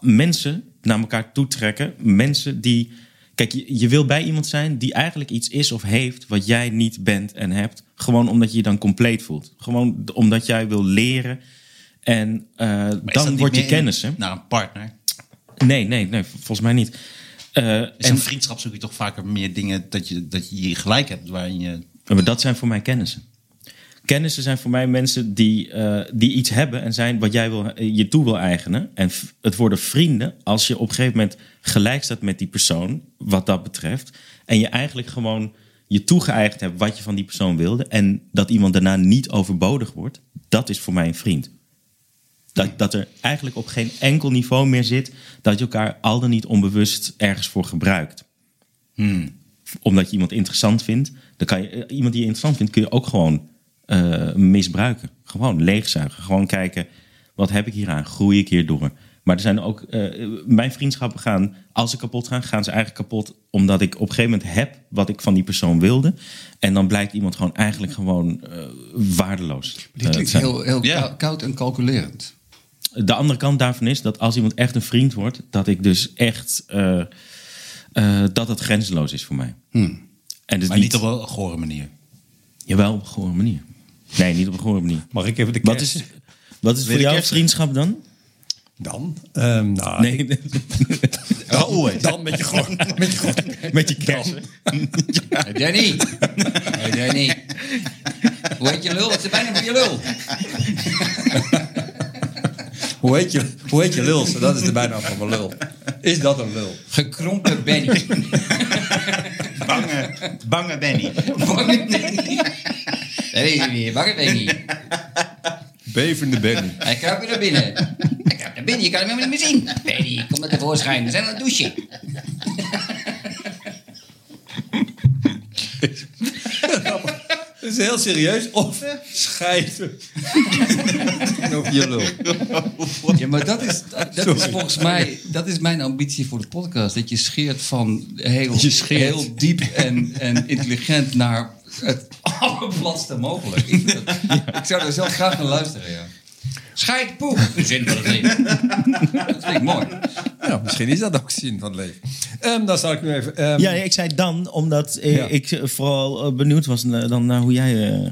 S6: mensen naar elkaar toetrekken. Mensen die. Kijk, je, je wil bij iemand zijn die eigenlijk iets is of heeft wat jij niet bent en hebt. Gewoon omdat je je dan compleet voelt. Gewoon d- omdat jij wil leren. En eh,
S2: maar is dat
S6: dan
S2: niet
S6: word je
S2: meer in-
S6: kennissen.
S2: Naar een partner.
S6: Nee, nee, nee, volgens mij niet. Eh,
S2: Is een vriendschap zoek je toch vaker meer dingen dat je, dat je hier gelijk hebt waarin je.
S6: Ja, Maar dat zijn voor mij kennissen. Kennissen zijn voor mij mensen die, eh, die iets hebben en zijn wat jij wil, eh, je toe wil eigenen. En v- het worden vrienden als je op een gegeven moment gelijk staat met die persoon, wat dat betreft. En je eigenlijk gewoon je toegeëigend hebt wat je van die persoon wilde. En dat iemand daarna niet overbodig wordt, dat is voor mij een vriend. Dat, dat er eigenlijk op geen enkel niveau meer zit dat je elkaar al dan niet onbewust ergens voor gebruikt omdat je iemand interessant vindt, dan kan je eh, iemand die je interessant vindt, kun je ook gewoon eh, misbruiken. Gewoon leegzuigen. Gewoon kijken, wat heb ik hier aan? Groei ik hierdoor? Maar er zijn ook, eh, mijn vriendschappen gaan, als ze kapot gaan, gaan ze eigenlijk kapot omdat ik op een gegeven moment heb wat ik van die persoon wilde. En dan blijkt iemand gewoon eigenlijk gewoon eh, waardeloos.
S5: Dit
S6: eh,
S5: klinkt
S6: te zijn.
S5: heel, heel
S2: Ja.
S5: kou- koud en calculerend.
S6: De andere kant daarvan is dat als iemand echt een vriend wordt, dat ik dus echt, eh, eh, dat het grenzeloos is voor mij. En dus
S2: Hmm. Maar niet op een gore manier.
S6: Jawel, op een gore manier. Nee, niet op een gore manier.
S3: Mag ik even de
S6: Wat
S3: kerst-
S6: is, wat is
S2: Weer
S6: voor
S2: de
S6: jou
S2: kerst?
S6: vriendschap dan?
S4: Dan? Ehm, nou,
S3: Nee,
S4: [laughs]
S2: Always.
S4: Dan met je gort. Met je gort.
S3: met je kersen.
S5: Hey
S4: [laughs]
S5: Danny. Hey Danny. Hoe heet je lul? Wat is er bijna voor je lul?
S4: Hoe heet je, hoe heet je lul? Dat is de bijnaam van mijn lul. [laughs] Is dat een lul?
S5: Gekrompen Benny.
S2: Bange, bange Benny.
S5: Bange Benny. Dat weet ik niet. Bange Benny.
S7: Bevende Benny.
S5: Hij kruipt weer naar binnen. Hij kruipt naar binnen. Je kan hem helemaal niet meer zien. Benny, kom maar tevoorschijn. We zijn aan het douchen.
S4: [laughs] Dat is heel serieus. Of scheiden. Over je lul.
S5: Ja, maar dat is, dat, dat is volgens mij dat is mijn ambitie voor de podcast. Dat je scheert van heel, heel diep en, en intelligent naar het [laughs] allerbladste mogelijk. Ik, vind dat- ik zou daar zelf graag naar luisteren, ja. Scheid, poep. De zin van het leven. [laughs] Dat vind ik mooi.
S4: Ja, misschien is dat ook zin van het leven. Ehm, dan zal ik nu even... ehm,
S3: Ja, nee, ik zei dan, omdat eh,
S4: Ja.
S3: ik eh, vooral eh, benieuwd was na- dan naar hoe jij... eh,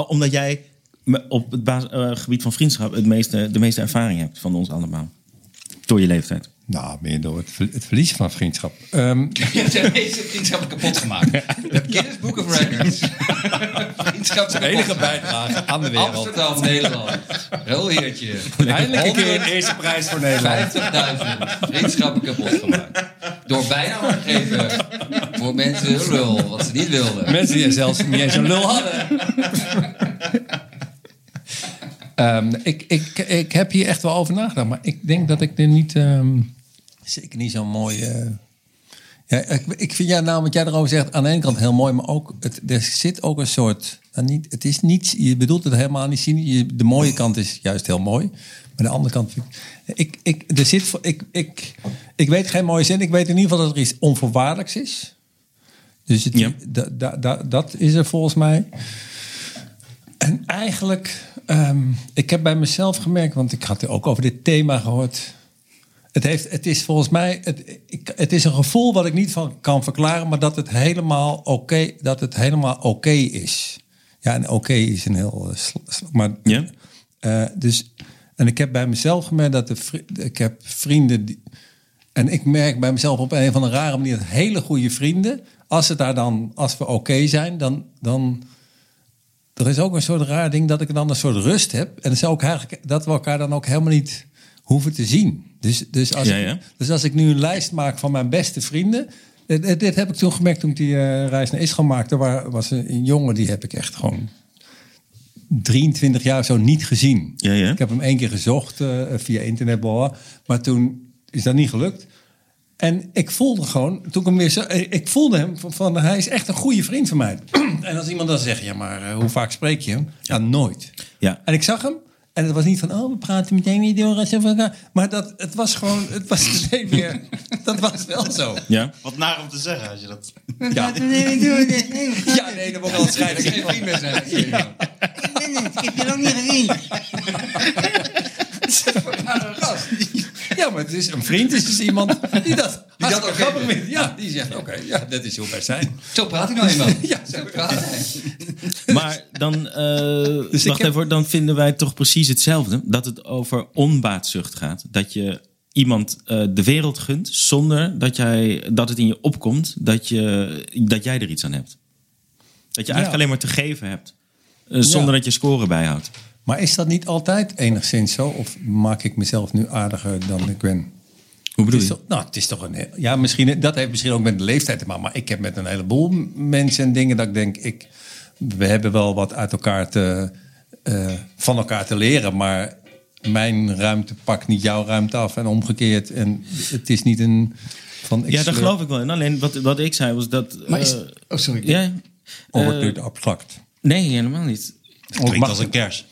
S3: oh, omdat jij me- op het baas- eh, gebied van vriendschap het meeste, de meeste ervaring hebt van ons allemaal. Door je leeftijd.
S4: Nou, meer door het, ver- het verlies van vriendschap. Ehm,
S5: Je hebt de meeste vriendschappen kapot gemaakt. Je hebt Guinness Book of Records. Vriendschap zijn enige bijdrage
S4: aan de wereld.
S5: Amsterdam, Nederland. Rolheertje.
S4: eindelijk een keer een eerste prijs voor Nederland.
S5: 50.000 vriendschappen kapot gemaakt. Door bijna te geven voor mensen hun lul, wat ze niet wilden.
S4: Mensen die zelfs niet eens een lul hadden. Ehm, ik, ik, ik heb hier echt wel over nagedacht, maar ik denk dat ik er niet. ehm, zeker niet zo'n mooi. eh, ja, ik, ik vind jouw naam, wat jij erover zegt, aan de ene kant heel mooi, maar ook. Het, er zit ook een soort. nou, niet, het is niets. Je bedoelt het helemaal niet zien. Je- de mooie kant is juist heel mooi. Maar de andere kant. vind Ik, ik, ik, er zit, voor- ik, ik, ik weet geen mooie zin. Ik weet in ieder geval dat er iets onvoorwaardelijks is. Dus het, da- da- da- dat is er volgens mij. En eigenlijk, ehm, ik heb bij mezelf gemerkt, want ik had ook over dit thema gehoord. Het, heeft, het is volgens mij, het, ik, het is een gevoel wat ik niet van kan verklaren, maar dat het helemaal oké, dat het helemaal oké is. Ja, en oké is een heel, eh, sl- sl- maar
S3: Ja?
S4: eh, dus, en ik heb bij mezelf gemerkt dat de vri- ik heb vrienden. Die, en ik merk bij mezelf op een van een rare manier dat hele goede vrienden. Als, het daar dan, als we oké zijn, dan, dan. Er is ook een soort raar ding dat ik dan een soort rust heb. En dat, is ook eigenlijk, dat we elkaar dan ook helemaal niet hoeven te zien. Dus, dus, als
S3: Ja,
S4: ik,
S3: ja.
S4: dus als ik nu een lijst maak van mijn beste vrienden. Dit, dit- dit heb ik toen gemerkt toen ik die eh, reis naar Israël maakte. Waar was een, een jongen die heb ik echt gewoon 23 jaar zo niet gezien.
S3: Ja, ja.
S4: Ik heb hem één keer gezocht eh, via internet, bla, bla. maar toen is dat niet gelukt. En ik voelde gewoon, toen ik hem weer zo, eh, ik voelde hem van, van, hij is echt een goede vriend van mij. [clears throat] en als iemand dan zegt, ja, maar eh, hoe vaak spreek je hem? Ja, nooit.
S3: Ja.
S4: En ik zag hem. En het was niet van, oh, we praten meteen niet door. en zo van elkaar. Maar dat, het was gewoon, het was [laughs] meteen weer, dat was wel zo.
S3: Ja?
S2: Wat naar om te zeggen als je dat...
S4: Ja, ja nee, dat wordt wel een
S5: Dat geen vriend meer zijn. Ja. [laughs]
S4: Ja, maar het is een vriend, is dus iemand die dat, die dat
S5: oké
S4: grappig vindt. Ja, die zegt, oké, ja, dat is hoe wij zijn.
S5: Zo praat hij nou eenmaal.
S4: Ja,
S5: Zo praat hij.
S3: [laughs] Maar dan, eh,
S4: ik
S3: wacht
S4: heb-
S3: even, hoor, dan vinden wij toch precies hetzelfde. Dat het over onbaatzucht gaat. Dat je iemand eh, de wereld gunt zonder dat, jij, dat het in je opkomt dat, je, dat jij er iets aan hebt. Dat je eigenlijk
S4: Ja.
S3: alleen maar te geven hebt. eh, zonder
S4: Ja.
S3: dat je scoren bijhoudt.
S4: Maar is dat niet altijd enigszins zo? Of maak ik mezelf nu aardiger dan ik ben?
S3: Hoe bedoel
S4: Het is
S3: je?
S4: toch- nou, het is toch een... heel- Ja, misschien, dat heeft misschien ook met de leeftijd te maken. Maar ik heb met een heleboel mensen en dingen dat ik denk... Ik, we hebben wel wat uit elkaar te, eh, van elkaar te leren. Maar mijn ruimte pakt niet jouw ruimte af en omgekeerd. En het is niet een... Van, eh, ik
S3: Ja, dat
S4: sleur-
S3: geloof ik wel. En alleen wat, wat ik zei was dat.
S5: Maar is...
S3: eh,
S5: Oh, sorry.
S3: ja,
S4: Of
S3: eh,
S4: het duurt abstract.
S3: nee, helemaal niet.
S4: Oh,
S2: Klinkt
S4: mag-
S2: als een kers.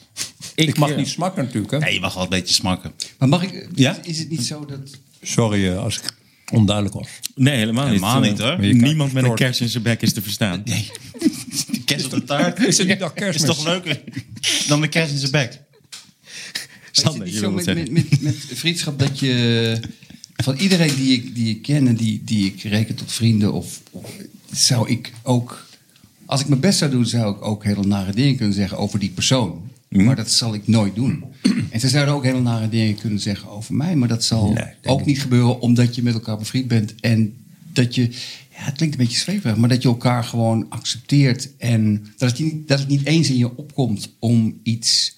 S4: Ik, mag
S3: eh,
S4: niet smakken natuurlijk. Hè?
S2: Nee, je mag wel een beetje smakken.
S5: Maar mag ik...
S3: Ja?
S5: Is het niet zo dat...
S4: Sorry eh, als ik onduidelijk was.
S3: Nee, helemaal,
S2: Helemaal
S3: niet.
S2: niet,
S3: Eh,
S2: hoor.
S3: Niemand met een kers in zijn bek is te verstaan.
S2: De kers op de taart
S4: Is het niet dat
S2: is
S4: kerstmis?
S2: toch leuker dan de kers in zijn bek.
S5: Maar
S3: Sander,
S5: is het
S3: je wil
S5: niet
S3: wat
S5: zo
S3: zeggen.
S5: met, met, met, met vriendschap dat je van iedereen die ik, die ik ken en die, die ik reken tot vrienden, of, of- zou ik ook, als ik mijn best zou doen, zou ik ook hele nare dingen kunnen zeggen over die persoon.
S3: Mhm.
S5: Maar dat zal ik nooit
S3: [clears throat]
S5: doen. En ze zouden ook hele nare dingen kunnen zeggen over mij. Maar dat zal
S4: denk
S5: ook niet gebeuren omdat je met elkaar bevriend bent. En dat je, ja, het klinkt een beetje zweverig, maar dat je elkaar gewoon accepteert. En dat het niet, dat het niet eens in je opkomt om iets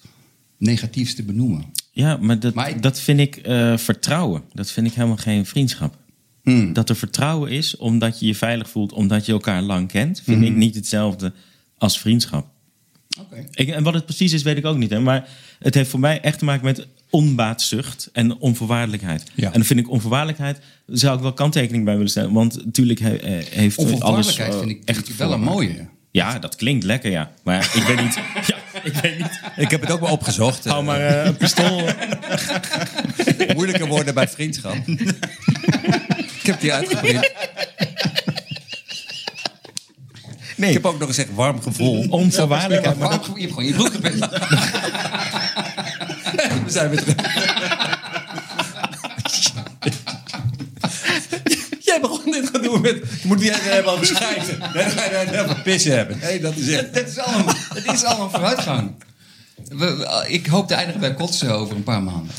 S5: negatiefs te benoemen.
S6: Ja, maar dat,
S5: Maar ik-
S6: dat vind ik eh, vertrouwen. Dat vind ik helemaal geen vriendschap.
S5: Hmm.
S6: Dat er vertrouwen is omdat je je veilig voelt, omdat je elkaar lang kent, vind
S5: Hmm.
S6: ik niet hetzelfde als vriendschap.
S5: Oké.
S6: Ik, en wat het precies is, weet ik ook niet. Hè? Maar het heeft voor mij echt te maken met onbaatzucht en onvoorwaardelijkheid.
S4: Ja.
S6: En dan vind ik onvoorwaardelijkheid, daar zou ik wel kanttekening bij willen stellen. Want natuurlijk he- eh, heeft alles...
S5: Onvoorwaardelijkheid
S6: eh,
S5: vind ik
S6: echt
S5: echt wel een mooie.
S6: Ja, dat klinkt lekker, ja. Maar ik weet
S5: [laughs]
S6: niet... ja, ik weet niet.
S8: Ik heb het ook wel opgezocht.
S6: Hou maar eh, een pistool...
S8: Eh, moeilijke woorden bij vriendschap. ik heb die uitgeprint.
S6: Nee.
S8: Ik heb ook nog gezegd warm gevoel.
S6: Onvoorwaardelijkheid.
S5: Maar je hebt gewoon je broek gepest.
S8: We zijn weer terug. Jij begon dit gedoe met... Moet jij er helemaal beschrijven? Nee, ga je daar even pissen hebben. Nee, dat is echt...
S5: Dat is al een, dat is al een vooruitgang. We- we- ik hoop te eindigen bij kotsen over een paar maanden.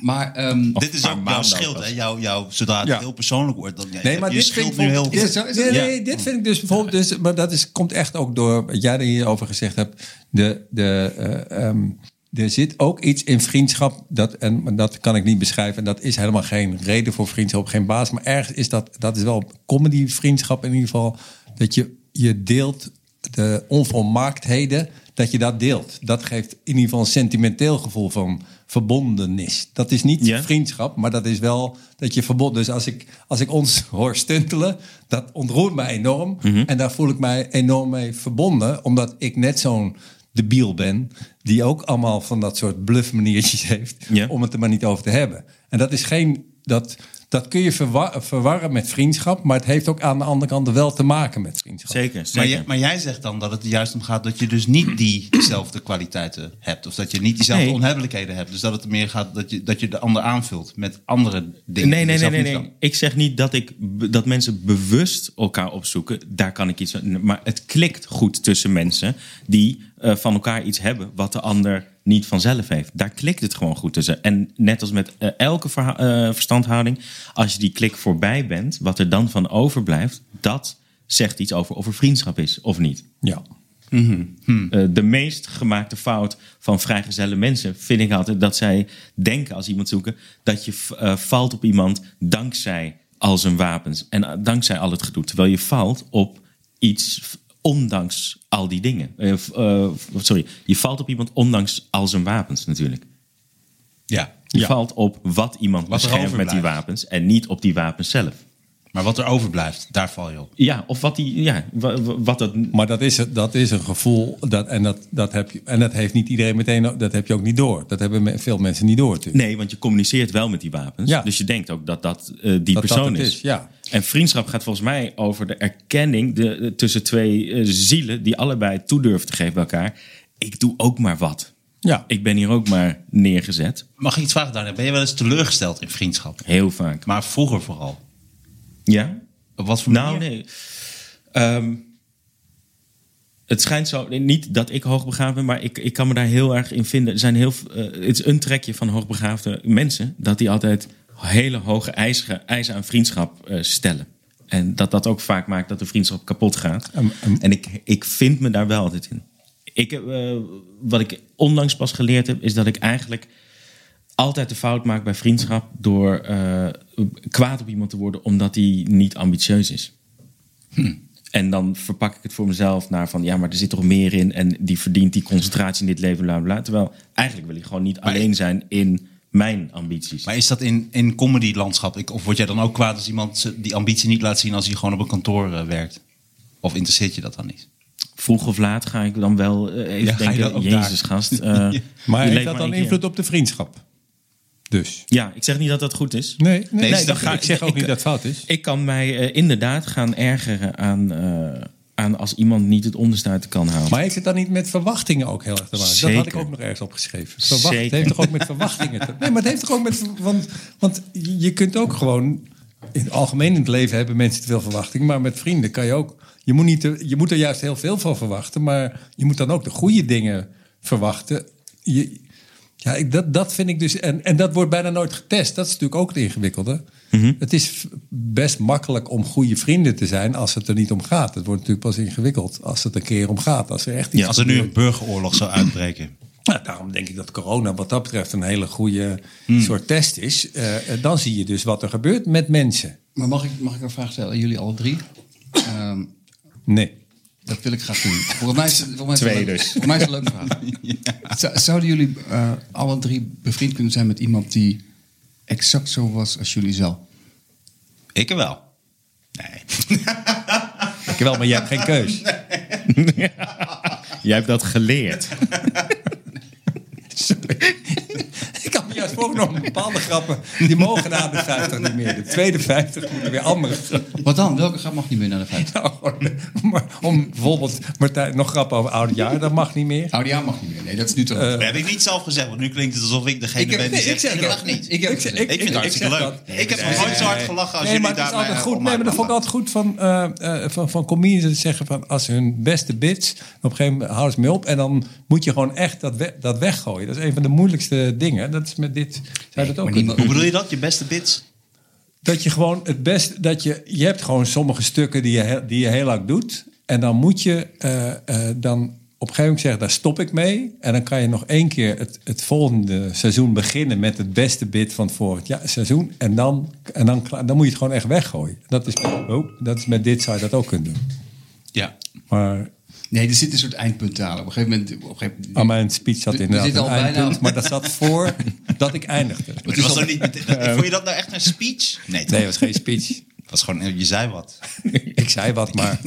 S5: Maar ehm,
S2: Dit is ook jouw schild, hè? Jouw, jouw, zodra het
S8: Ja.
S2: heel persoonlijk wordt, dan
S8: Nee, maar
S2: je
S8: dit
S2: schild
S8: vind ik
S2: nu heel...
S8: bijvoorbeeld-
S5: is het zo? Is het-
S4: Nee, nee, dit vind ik dus bijvoorbeeld... Dus, maar dat is, komt echt ook door wat jij er hierover gezegd hebt. De, de, eh, ehm, er zit ook iets in vriendschap, dat, en, maar dat kan ik niet beschrijven. En dat is helemaal geen reden voor vriendschap, geen baas. Maar ergens is dat, dat is wel comedy vriendschap in ieder geval. Dat je, je deelt de onvolmaaktheden, dat je dat deelt. Dat geeft in ieder geval een sentimenteel gevoel van verbondenis. Dat is niet
S6: Ja.
S4: vriendschap, maar dat is wel dat je verbond. Dus als ik, als ik ons [laughs] hoor stuntelen, dat ontroert mij enorm.
S6: Mhm.
S4: En daar voel ik mij enorm mee verbonden, omdat ik net zo'n debiel ben, die ook allemaal van dat soort bluffmaniertjes [laughs] heeft,
S6: Ja.
S4: om het er maar niet over te hebben. En dat is geen, dat, dat kun je verwar- verwarren met vriendschap, maar het heeft ook aan de andere kant wel te maken met vriendschap.
S6: Zeker,
S2: Maar,
S6: zeker.
S2: jij, maar jij zegt dan dat het er juist om gaat dat je dus niet
S6: [clears throat]
S2: diezelfde kwaliteiten hebt. Of dat je niet diezelfde
S6: Nee.
S2: onhebbelijkheden hebt. Dus dat het er meer gaat dat je, dat je de ander aanvult met andere dingen. die je
S6: Nee, nee, nee,
S2: zelf
S6: nee,
S2: niet
S6: nee.
S2: kan.
S6: Ik zeg niet dat, ik, be- dat mensen bewust elkaar opzoeken. Daar kan ik iets van. Maar het klikt goed tussen mensen die eh, van elkaar iets hebben wat de ander niet vanzelf heeft. Daar klikt het gewoon goed tussen. En net als met eh, elke verha- eh, verstandhouding, als je die klik voorbij bent, wat er dan van overblijft, dat zegt iets over of er vriendschap is of niet.
S4: Ja.
S6: Eh, de meest gemaakte fout van vrijgezelle mensen vind ik altijd dat zij denken als iemand zoeken dat je v- eh, valt op iemand dankzij al zijn wapens en eh, dankzij al het gedoe. Terwijl je valt op iets v- ondanks al die dingen. Eh, v- eh, v- sorry, je valt op iemand ondanks al zijn wapens natuurlijk.
S4: Ja.
S6: Je valt op wat iemand
S2: Wat er
S6: beschermt met die
S2: overblijft.
S6: wapens en niet op die wapens zelf.
S2: Maar wat er overblijft, daar val je op.
S6: Ja, of wat, die, ja, wa- wa- wat dat
S4: Maar dat is, dat is een gevoel. Dat, en, dat, dat heb je, en dat heeft niet iedereen meteen. Dat heb je ook niet door. Dat hebben me- veel mensen niet door. Natuurlijk.
S6: Nee, want je communiceert wel met die wapens.
S4: Ja.
S6: Dus je denkt ook dat dat eh, die
S4: dat
S6: persoon
S4: het
S6: is.
S4: is, ja.
S6: En vriendschap gaat volgens mij over de erkenning de, de- tussen twee eh, zielen die allebei toe durven te geven bij elkaar. Ik doe ook maar wat.
S4: Ja.
S6: Ik ben hier ook maar neergezet.
S2: Mag ik iets vragen daarna? Ben je wel eens teleurgesteld in vriendschap?
S6: Heel vaak.
S2: Maar vroeger vooral.
S6: Ja?
S2: Op wat voor
S6: Nou,
S2: manier?
S6: nee. Ehm, het schijnt zo, niet dat ik hoogbegaafd ben, maar ik, ik kan me daar heel erg in vinden. Er zijn heel, v- eh, het is een trekje van hoogbegaafde mensen dat die altijd hele hoge eisen, eisen aan vriendschap eh, stellen. En dat dat ook vaak maakt dat de vriendschap kapot gaat. En ik, ik vind me daar wel altijd in. Ik, heb, eh, wat ik onlangs pas geleerd heb, is dat ik eigenlijk altijd de fout maak bij vriendschap door eh, kwaad op iemand te worden omdat hij niet ambitieus is.
S4: Hm.
S6: En dan verpak ik het voor mezelf naar van ja, maar er zit toch meer in en die verdient die concentratie in dit leven, bla bla, bla. Terwijl eigenlijk wil ik gewoon niet alleen zijn in mijn ambities.
S2: Maar is dat in, in comedy-landschap? Ik- Of word jij dan ook kwaad als iemand ze- die ambitie niet laat zien als hij gewoon op een kantoor eh, werkt? Of interesseert je dat dan niet?
S6: Vroeg of laat ga ik dan wel eh, even
S2: Ja, ga je
S6: denken,
S2: dan ook
S6: jezus
S4: [laughs]
S6: gast. eh, je
S4: Maar
S6: leeft
S4: heeft dat
S6: één
S4: dan
S6: keer.
S4: invloed op de vriendschap? Dus.
S6: Ja, ik zeg niet dat dat goed is.
S4: Nee, nee,
S2: Nee,
S4: nee,
S2: dat
S4: dat-
S2: ga-
S4: ik zeg ook
S6: ik-
S4: niet dat het fout is.
S6: Ik kan mij eh, inderdaad gaan ergeren aan, eh, aan als iemand niet het onderste uit de kan halen.
S4: Maar heeft het dan niet met verwachtingen ook heel erg te maken? Dat had ik
S6: Zeker.
S4: ook nog ergens opgeschreven. Verwacht, het
S6: Zeker.
S4: heeft toch ook met verwachtingen te Nee, maar het heeft toch ook met... ver- Want, want je kunt ook gewoon... In het algemeen in het leven hebben mensen te veel verwachting. Maar met vrienden kan je ook... Je moet, niet te- je moet er juist heel veel van verwachten. Maar je moet dan ook de goede dingen verwachten.
S3: je, ja, ik- dat, dat vind ik dus. En, en dat wordt bijna nooit getest. Dat is natuurlijk ook het ingewikkelde.
S6: Mhm.
S3: Het is f- best makkelijk om goede vrienden te zijn als het er niet om gaat. Het wordt natuurlijk pas ingewikkeld als het een keer om gaat. Als er echt iets
S2: Als er nu een burgeroorlog zou uitbreken.
S3: nou, daarom denk ik dat corona wat dat betreft een hele goede soort test is. Eh, dan zie je dus wat er gebeurt met mensen.
S5: Maar mag ik, mag ik een vraag stellen? Jullie alle drie? Ehm,
S3: Nee.
S5: dat wil ik graag doen. Volgens mij is, volgens mij is het
S9: Twee
S5: een leuk-
S9: dus.
S5: Volgens mij is het een leuke vraag. [laughs] Zou- Zouden jullie eh, alle drie bevriend kunnen zijn met iemand die exact zo was als jullie zelf?
S2: Ik wel.
S3: Ik wel, maar jij hebt geen keus.
S6: [laughs] Jij hebt dat geleerd.
S4: [laughs]
S3: Ik kan me juist voorgenomen, [laughs] bepaalde grappen, die mogen na de 50 niet meer. De tweede 50 moeten weer andere [laughs] grappen.
S5: Wat dan? Welke grap mag niet meer naar de vijf?
S3: houden. Maar om bijvoorbeeld Martijn, nog grappen over oud jaar, dat mag niet meer.
S5: Oudejaar Nou, mag niet meer. Nee, dat is nu toch...
S2: Dat heb ik niet zelf gezegd, want nu klinkt het alsof ik degene
S5: Eh, Ik heb-
S2: ben die
S5: nee,
S2: zegt...
S5: ik zeg dat niet. Ik heb het gezegd.
S2: Ik vind het hartstikke
S3: zeg
S2: leuk.
S3: dat.
S2: ik heb nog nooit zo hard gelachen als
S3: nee, maar
S2: jullie daar
S3: het is altijd
S2: mij,
S3: goed.
S2: eh, om
S3: Nee, maar dat
S2: mij
S3: vond ik altijd goed van, eh, eh, van, van comedians dat zeggen van als ze hun beste bits op een gegeven moment houden ze mee op en dan moet je gewoon echt dat, we- dat weggooien. Dat is een van de moeilijkste dingen. Dat is met dit zou je dat
S5: maar
S3: ook kunnen
S5: niemand-
S2: Hoe bedoel je dat? Je beste bits?
S3: Dat je gewoon het beste, dat je, je hebt gewoon sommige stukken die je, he- die je heel lang doet. En dan moet je eh, eh, dan op een gegeven moment zeggen, daar stop ik mee. En dan kan je nog één keer het, het volgende seizoen beginnen met het beste bit van het vorig ja, seizoen. En, dan, en dan, kla- dan moet je het gewoon echt weggooien. Dat is, oh, dat is met dit zou je dat ook kunnen doen.
S2: Ja.
S3: Maar
S5: Nee, er zit een soort eindpunt aan. Op een gegeven moment... Op een gegeven moment
S3: aan mijn speech zat
S5: We- we
S3: inderdaad
S5: zitten
S3: een
S5: al bijna-
S3: eindpunt. Maar dat zat [laughs] voor dat ik eindigde.
S2: Maar dat was toch niet, dat- vond je dat nou echt een speech? Nee, toch?
S3: Nee, het was geen speech.
S2: Het was gewoon, je zei wat.
S3: [laughs] Ik zei wat, [laughs] maar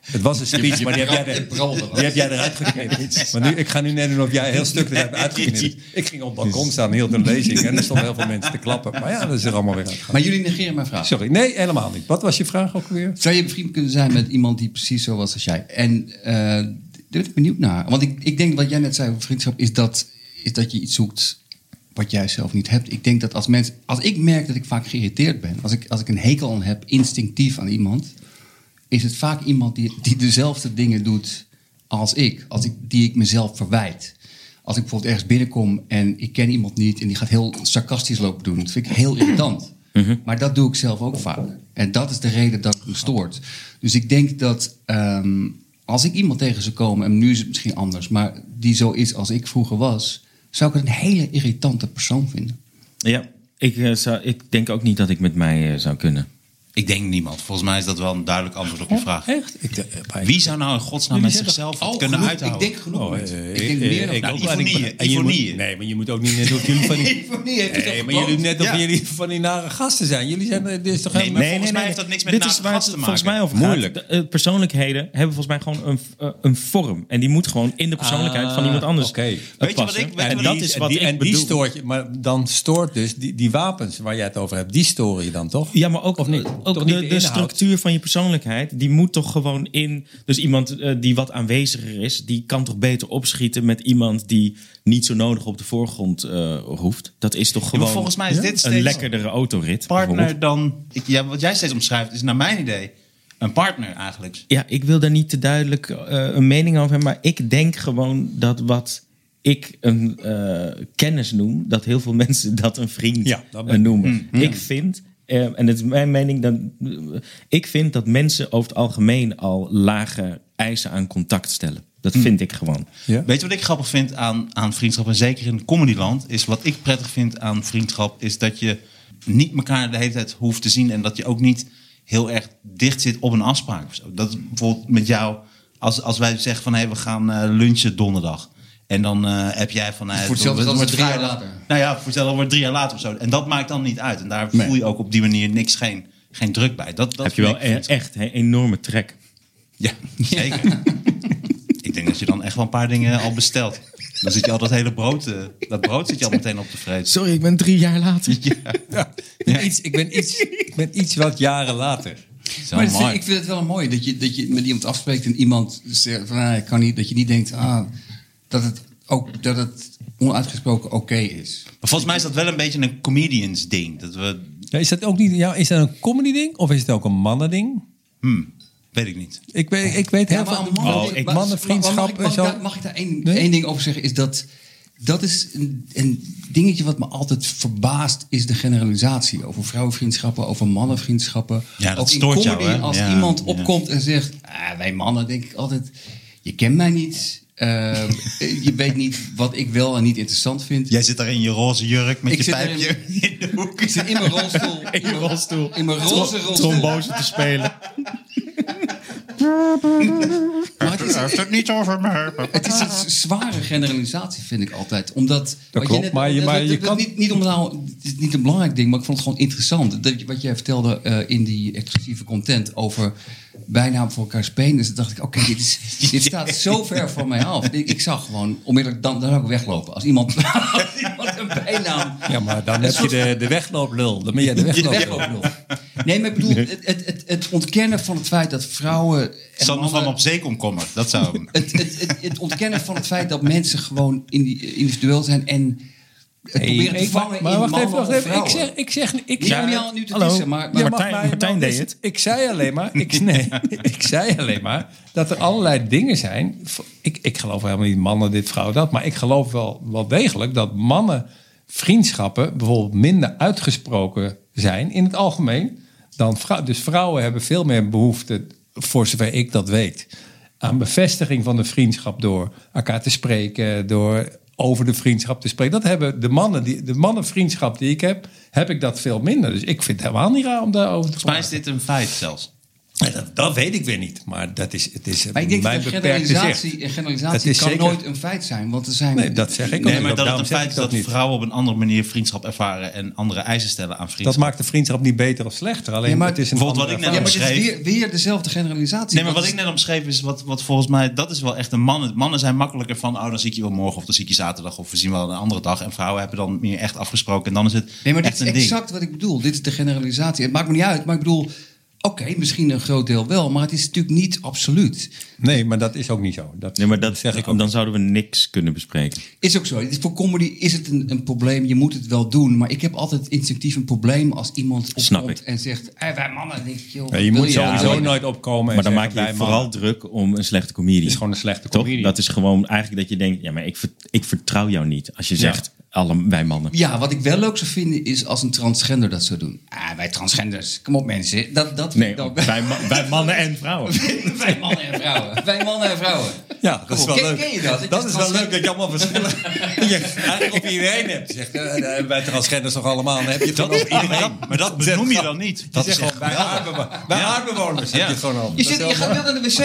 S3: het was een speech, maar die heb jij, er, die heb jij eruit [laughs] geknipt. Maar nu, ik ga nu net doen of jij een heel stuk eruit hebt uitgeknipt. [laughs] Dus- Ik ging op het balkon staan, heel de lezing. En er stonden heel veel mensen te klappen. Maar ja, dat is er allemaal weer uitgegaan.
S5: Maar jullie negeren mijn vraag.
S3: Sorry, nee, helemaal niet. Wat was je vraag ook weer?
S5: Zou je bevriend kunnen zijn met iemand die precies zo was als jij? En eh, daar ben ik benieuwd naar. Want ik, ik denk wat jij net zei over vriendschap, is dat, is dat je iets zoekt wat jij zelf niet hebt. Ik denk dat als mensen, als ik merk dat ik vaak geïrriteerd ben, als ik, als ik een hekel aan heb, instinctief aan iemand, is het vaak iemand die, die dezelfde dingen doet als ik, als ik, die ik mezelf verwijt. Als ik bijvoorbeeld ergens binnenkom en ik ken iemand niet en die gaat heel sarcastisch lopen doen, dat vind ik heel irritant. Maar dat doe ik zelf ook vaak. En dat is de reden dat het me stoort. Dus ik denk dat ehm, als ik iemand tegen zou komen, en nu is het misschien anders, maar die zo is als ik vroeger was, zou ik het een hele irritante persoon vinden.
S6: Ja, ik, eh, zou, ik denk ook niet dat ik met mij eh, zou kunnen.
S2: Ik denk niemand. Volgens mij is dat wel een duidelijk antwoord op je vraag.
S3: Echt? Ik, eh, maar ik-
S2: Wie zou nou in godsnaam met zichzelf het kunnen
S5: genoeg.
S2: uithouden?
S5: Ik denk genoeg.
S3: Oh,
S5: mensen.
S3: eh,
S5: ik denk
S3: eh,
S5: meer dan
S3: ik
S2: Nou,
S3: ook.
S2: Ivonie,
S3: En ik- en je
S2: Ivonie.
S3: moet- Nee, maar je moet ook niet net doen of jullie van
S2: [laughs]
S3: die...
S5: Ivonie heeft het
S3: Nee,
S5: al
S3: maar jullie doen net of
S2: Ja.
S3: jullie van die nare gasten zijn. Jullie zijn... eh, Dit is toch
S2: Nee,
S3: helemaal...
S2: maar volgens mij heeft dat niks met
S6: Dit
S2: nare
S6: is waar het
S2: gasten te
S6: volgens
S2: maken.
S6: mij over Moeilijk. persoonlijkheden hebben volgens mij gewoon een, eh, een vorm. En die moet gewoon in de persoonlijkheid van iemand anders
S3: oké.
S6: eh,
S3: Weet je
S2: wat ik-
S6: passen.
S2: weet je
S6: en
S2: wat
S6: dat
S4: Dus
S2: ik-
S6: is
S3: en
S6: wat
S3: die,
S6: ik
S3: en die
S6: bedoel.
S3: stoort je, maar dan stoort dus die, die wapens waar jij het over hebt, die storen je dan toch?
S6: Ja, maar ook,
S3: Of niet?
S6: ook
S3: Toch niet
S6: de,
S3: de
S6: de
S3: inhoud?
S6: structuur van je persoonlijkheid, die moet toch gewoon in. Dus iemand eh, die wat aanweziger is, die kan toch beter opschieten met iemand die niet zo nodig op de voorgrond eh, hoeft. Dat is toch
S2: maar
S6: gewoon
S2: volgens mij is dit
S6: een
S2: steeds-
S6: lekkerdere autorit. bijvoorbeeld.
S2: partner dan... Ik, ja, wat jij steeds omschrijft is naar mijn idee een partner eigenlijk.
S6: Ja, ik wil daar niet te duidelijk eh, een mening over hebben, maar ik denk gewoon dat wat ik een eh, kennis noem, dat heel veel [laughs] mensen dat een vriend
S3: Ja, dat
S6: eh,
S3: ben ik.
S6: noemen. Ik vind, eh, en het is mijn mening, dat, eh, ik vind dat mensen over het algemeen al lage eisen aan contact stellen. Dat vind ik gewoon.
S3: Ja.
S2: Weet je wat ik grappig vind aan, aan vriendschap? En zeker in Comedyland is wat ik prettig vind aan vriendschap... is dat je niet elkaar de hele tijd hoeft te zien... en dat je ook niet heel erg dicht zit op een afspraak. of zo. Dat is bijvoorbeeld met jou... Als, als wij zeggen van hey, we gaan eh, lunchen donderdag... en dan eh, heb jij van... eh,
S5: Voor hetzelfde
S2: dat
S5: geld
S2: wordt
S5: is
S2: drie
S5: het drie jaar
S2: la-
S5: later.
S2: Nou ja, voor hetzelfde wordt drie jaar later of zo. En dat maakt dan niet uit. En daar
S5: Nee.
S2: voel je ook op die manier niks, geen, geen druk bij. Dat, dat
S6: Heb je wel
S2: vind ik
S6: e- echt hè, enorme trek.
S2: ja, zeker.
S5: [laughs]
S2: ik denk dat je dan echt wel een paar dingen al bestelt. Dan zit je al dat hele brood, eh, dat brood zit je al meteen op de vrees.
S6: Sorry, ik ben drie jaar later.
S3: Iets, ik, ben [laughs] iets, ik ben iets wat jaren later.
S2: Zo
S5: maar dat vind-
S2: mooi.
S5: ik vind het wel mooi dat je, dat je met iemand afspreekt en iemand zegt van, ah, ik kan niet, dat je niet denkt ah, dat, het ook, dat het onuitgesproken oké is.
S2: Maar volgens mij is dat wel een beetje een comedians ding. Dat we,
S3: Ja, is dat ook niet, ja, is dat een comedy ding of is het ook een mannen ding?
S2: hmm, weet ik niet.
S3: Ik weet, ik weet heel
S5: Ja, maar
S3: veel
S5: aan mannen-
S6: Oh, ik-
S5: maar-
S3: mannenvriendschap
S5: maar Mag ik, mag,
S3: en
S5: ik
S3: zo.
S5: daar- mag ik daar één,
S3: Nee?
S5: één ding over zeggen? Is dat Dat is een, een dingetje wat me altijd verbaast, is de generalisatie over vrouwenvriendschappen, over mannenvriendschappen.
S2: Ja, dat
S5: Ook in
S2: stoort jou,
S5: comedy,
S2: hè?
S5: Als
S2: Ja,
S5: iemand
S2: ja.
S5: opkomt en zegt, "Ah, wij mannen, denk ik altijd, je kent mij niet. Ehm, [laughs] je weet niet wat ik wel en niet interessant vind.
S2: Jij zit daar in je roze jurk met
S5: Ik
S2: je
S5: zit er in-
S2: pijpje in,
S4: [laughs]
S2: de hoek.
S5: Ik zit in mijn rolstoel. In mijn rolstoel. In mijn roze rolstoel.
S6: trombose te spelen.
S5: Maar het is,
S2: het niet over me.
S5: Het is een z- zware generalisatie, vind ik altijd. Omdat. wat
S4: klopt,
S5: net-
S4: maar je- maar
S5: dat-
S4: je
S5: dat-
S4: kan-
S5: Niet, niet om nou, het is niet een belangrijk ding, maar ik vond het gewoon interessant. Dat, je- wat jij vertelde eh, in die exclusieve content over bijnaam voor elkaars penis. Dacht ik, oké, dit, is-
S4: [laughs]
S5: dit staat zo ver van mij af. Ik, ik zag gewoon onmiddellijk dan, dan zou ik weglopen. Als iemand, [laughs] als iemand een bijnaam.
S4: Ja, maar dan heb je de, de weglooplul. Dan ben jij de weglooplul.
S5: wegloopt nog. Nee, maar ik bedoel, het, het, het, het ontkennen van het feit dat vrouwen. en
S2: Zal nog
S5: mannen-
S2: van op zee komen komen. Dat zou...
S5: [laughs] het, het, het, het ontkennen van het feit dat mensen gewoon indi- individueel zijn en het proberen te
S4: Ik- maar-
S5: vangen
S4: maar
S5: in
S4: wacht even,
S5: mannen
S4: wacht
S5: of
S4: even.
S5: vrouwen.
S4: Ik zeg, ik zeg, ik
S5: Niet
S4: zeg,
S5: om jou nu te
S6: Hallo.
S5: dissen, maar,
S4: Ja,
S5: maar
S4: mag
S6: Martijn-
S4: mij-
S6: Martijn
S4: mag-
S6: deed
S4: is- Ik zei alleen maar, [laughs] ik, nee, ik zei alleen maar dat er allerlei dingen zijn. Ik, ik geloof helemaal niet mannen dit, vrouwen dat. Maar ik geloof wel, wel degelijk dat mannen vriendschappen bijvoorbeeld minder uitgesproken zijn in het algemeen. Dan vrou- dus vrouwen hebben veel meer behoefte, voor zover ik dat weet, aan bevestiging van de vriendschap door elkaar te spreken, door over de vriendschap te spreken. Dat hebben de mannen, die, de mannenvriendschap die ik heb, heb ik dat veel minder. Dus ik vind het helemaal niet raar om daarover te
S2: Volgens mij is
S4: praten.
S2: dit een feit zelfs.
S4: Ja, Dat, dat weet ik weer niet, maar dat is, het is
S5: maar ik denk dat
S4: mijn
S5: een
S4: beperkte
S5: generalisatie,
S4: zicht.
S5: een
S4: Dat
S5: generalisatie
S4: is
S5: kan
S4: zeker-
S5: nooit een feit zijn, want er zijn...
S4: Nee, dat zeg ik ook
S2: Nee,
S4: niet.
S2: maar dat het
S4: Daarom
S2: een
S4: zeg
S2: feit
S4: ik
S2: is dat
S4: niet.
S2: vrouwen op een andere manier vriendschap ervaren en andere eisen stellen aan
S4: Dat
S2: vriendschap.
S4: maakt de vriendschap niet beter of slechter. Alleen
S5: Ja, maar-
S4: het is een
S2: Bijvoorbeeld wat
S4: andere
S2: ik
S5: ja,
S2: net
S5: maar het is
S2: omschreef.
S5: weer, weer dezelfde generalisatie.
S2: Nee, maar
S5: Dat
S2: wat ik
S5: is-
S2: net omschreef is wat, wat volgens mij, dat is wel echt een man. Mannen zijn makkelijker van, oh dan zie ik je wel morgen of dan zie ik je zaterdag of we zien wel een andere dag. En vrouwen hebben dan meer echt afgesproken en dan is het
S5: Nee, maar dit
S2: echt
S5: is
S2: een ding.
S5: exact wat ik bedoel. Dit is de generalisatie. Het maakt me niet uit, maar ik bedoel... Oké, misschien een groot deel wel, maar het is natuurlijk niet absoluut.
S4: Nee, maar dat is ook niet zo. Dat,
S6: Nee, maar [laughs] dat
S4: zeg ik ook.
S6: Dan zouden we niks kunnen bespreken.
S5: Is ook zo. Het is- Voor comedy is het een, een probleem. Je moet het wel doen. Maar ik heb altijd instinctief een probleem als iemand
S6: Snap
S5: opkomt
S6: ik.
S5: en zegt... Hey, wij mannen, denk ik, joh,
S4: Ja,
S5: wat
S4: je
S5: wil
S4: moet sowieso
S5: Ja,
S4: nooit opkomen.
S6: Maar dan maak je je vooral druk om een slechte comedie.
S4: is gewoon een slechte
S6: Toch?
S4: comedie.
S6: Dat is gewoon eigenlijk dat je denkt, ja, maar ik, ver- ik vertrouw jou niet. Als je zegt, alle, wij mannen.
S5: Ja, wat ik wel leuk zou vinden is als een transgender dat zou doen. Ah, wij transgenders, kom op mensen. Dat, dat
S4: [laughs]
S6: Nee,
S5: dat,
S6: wij, ma- wij mannen en vrouwen.
S5: [laughs] wij mannen en vrouwen. Wij mannen en vrouwen.
S4: Ja, dat
S5: Kom
S4: is
S5: op,
S4: wel
S5: ken-
S4: leuk.
S5: ken je dat? Het
S4: Dat
S5: is
S4: is wel
S5: trans-
S4: leuk dat je allemaal verschillen
S2: [laughs]
S4: je eigenlijk op iedereen hebt. Je Zegt, eh, eh, bij transgenders toch allemaal, dan heb je het gewoon over iedereen.
S2: Maar dat benoem je dan niet.
S4: Dat
S2: Dat
S4: is
S2: is
S4: gewoon bij aardbewo- bij aardbewoners heb
S2: Ja.
S4: je het gewoon over.
S5: Je, zit, je gaat wel naar de wc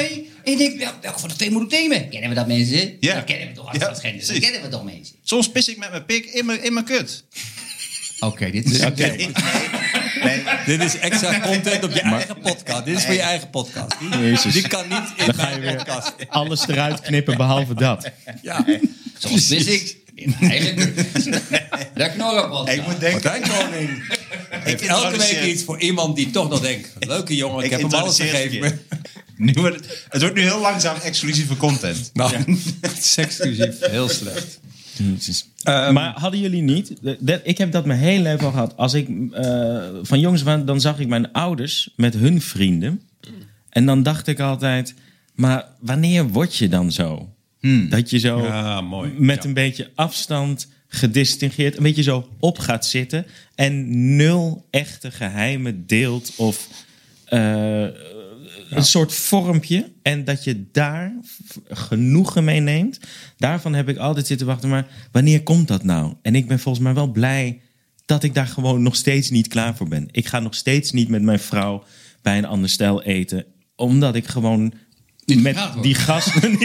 S5: en je denkt, wel, welke van de twee moet ik nemen? Kennen we dat mensen?
S2: Ja.
S5: Dan kennen we toch als
S2: Ja,
S5: transgenders. Dan
S2: precies.
S5: kennen we toch mensen.
S2: Soms pis ik met mijn pik in mijn, in mijn kut.
S5: Oké, dit is...
S4: Dit is [laughs] extra content op je eigen podcast. Dit is voor je eigen podcast. Die,
S6: Jezus.
S4: die kan niet in mijn podcast.
S6: Alles eruit knippen behalve dat.
S4: Ja.
S5: Zoals wist ik. In mijn eigen keuken.
S4: [laughs]
S5: Daar knorren op.
S2: Ik moet denken,
S4: Martijn Koning heeft
S2: Ik
S4: elke week
S2: introduceer-
S4: iets voor iemand die toch nog denkt... Leuke jongen, ik,
S2: ik
S4: heb hem alles
S2: introduceer het
S4: gegeven.
S2: verkeerd. Nu wordt het, het wordt nu heel langzaam exclusieve content.
S4: Nou, [laughs] seksclusief, heel slecht. Ehm,
S6: maar hadden jullie niet... dat- ik heb dat mijn hele leven al gehad. Als ik eh, van jongens was, dan zag ik mijn ouders met hun vrienden. En dan dacht ik altijd... Maar wanneer word je dan zo? Dat je zo
S4: Hmm. Ja, mooi.
S6: met een beetje afstand gedistingeerd... een beetje zo op gaat zitten... en nul echte geheimen deelt of... eh, een soort vormpje. En dat je daar v- genoegen mee neemt. Daarvan heb ik altijd zitten wachten. Maar wanneer komt dat nou? En ik ben volgens mij wel blij dat ik daar gewoon nog steeds niet klaar voor ben. Ik ga nog steeds niet met mijn vrouw bij een ander stijl eten. Omdat ik gewoon
S5: Niet
S6: met
S5: gepraat wordt.
S6: die [laughs] gasten...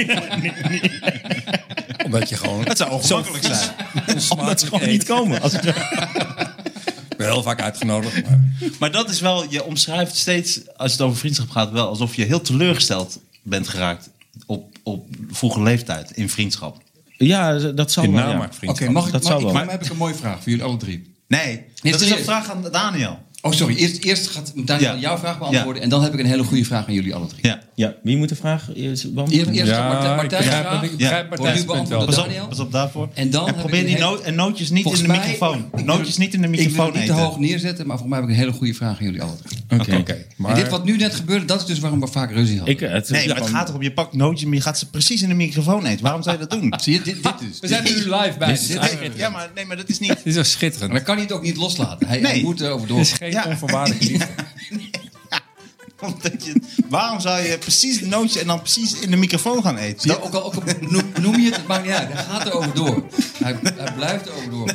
S4: Omdat je gewoon
S2: Dat zou ongemakkelijk zijn.
S6: omdat ze gewoon niet komen. Als ik,
S4: Ik ben heel vaak uitgenodigd. Maar
S2: Maar dat is wel, je omschrijft steeds, als het over vriendschap gaat, wel alsof je heel teleurgesteld bent geraakt op, op vroege leeftijd in vriendschap.
S6: ja, dat zal
S4: in
S6: wel. ja.
S4: namaakvriendschap.
S5: Oké, mag ik?
S6: Dat
S5: mag
S6: zou
S5: ik
S6: wel.
S5: maar heb ik een mooie vraag voor jullie alle drie.
S2: Nee, dat is een
S5: serieus.
S2: vraag aan Daniel.
S5: Oh, sorry. Eerst, eerst gaat Daniel
S2: Ja.
S5: jouw vraag beantwoorden. En dan heb ik een hele goede vraag aan jullie alle drie.
S2: Ja.
S6: Ja, wie moet de vraag? Eerst, Bram?
S5: Eerst, eerst
S4: Ja,
S5: Martijn,
S4: ik
S5: Martijn
S4: begrijp,
S5: graag.
S4: dat- ik begrijp
S5: Wordt
S4: Martijn's
S5: nu
S4: punt wel.
S5: beantwoord.
S2: Pas op,
S5: Daniel?
S2: pas op daarvoor.
S5: En dan heb
S2: probeer
S5: ik
S2: die
S5: een
S2: noot, en nootjes niet
S5: Volgens
S2: in de
S5: mij-
S2: microfoon.
S5: ik-
S2: Nootjes niet in de
S5: Ik wil
S2: microfoon
S5: het niet te
S2: eten.
S5: hoog neerzetten, maar voor mij heb ik een hele goede vraag aan jullie allen.
S6: Oké.
S4: Maar-
S5: En dit wat nu net gebeurde, dat is dus waarom we vaak ruzie hadden.
S6: Ik, eh, het,
S2: Nee, maar het
S6: gewoon-
S2: gaat erom, je pakt nootjes, maar je gaat ze precies in de microfoon eten. Waarom zou je dat doen?
S5: [laughs] Zie je, dit, dit dus.
S4: We zijn er nu live bij.
S5: dit-
S4: Dit
S5: [laughs] dit-
S2: Ja, maar, nee, maar dat is niet...
S4: is wel schitterend.
S5: Maar dan kan hij het ook niet loslaten. Hij,
S2: Nee.
S5: hij moet erover
S2: [laughs]
S5: door.
S4: Het is geen
S2: Ja.
S4: onvoorwaardelijke liefde.
S2: Omdat je, waarom zou je precies een nootje en dan precies in de microfoon gaan eten?
S5: Zie je,
S2: Dat-
S5: Nou, ook al ook al noem, noem je het, het maakt niet uit. Hij gaat erover door. Hij, hij blijft erover door.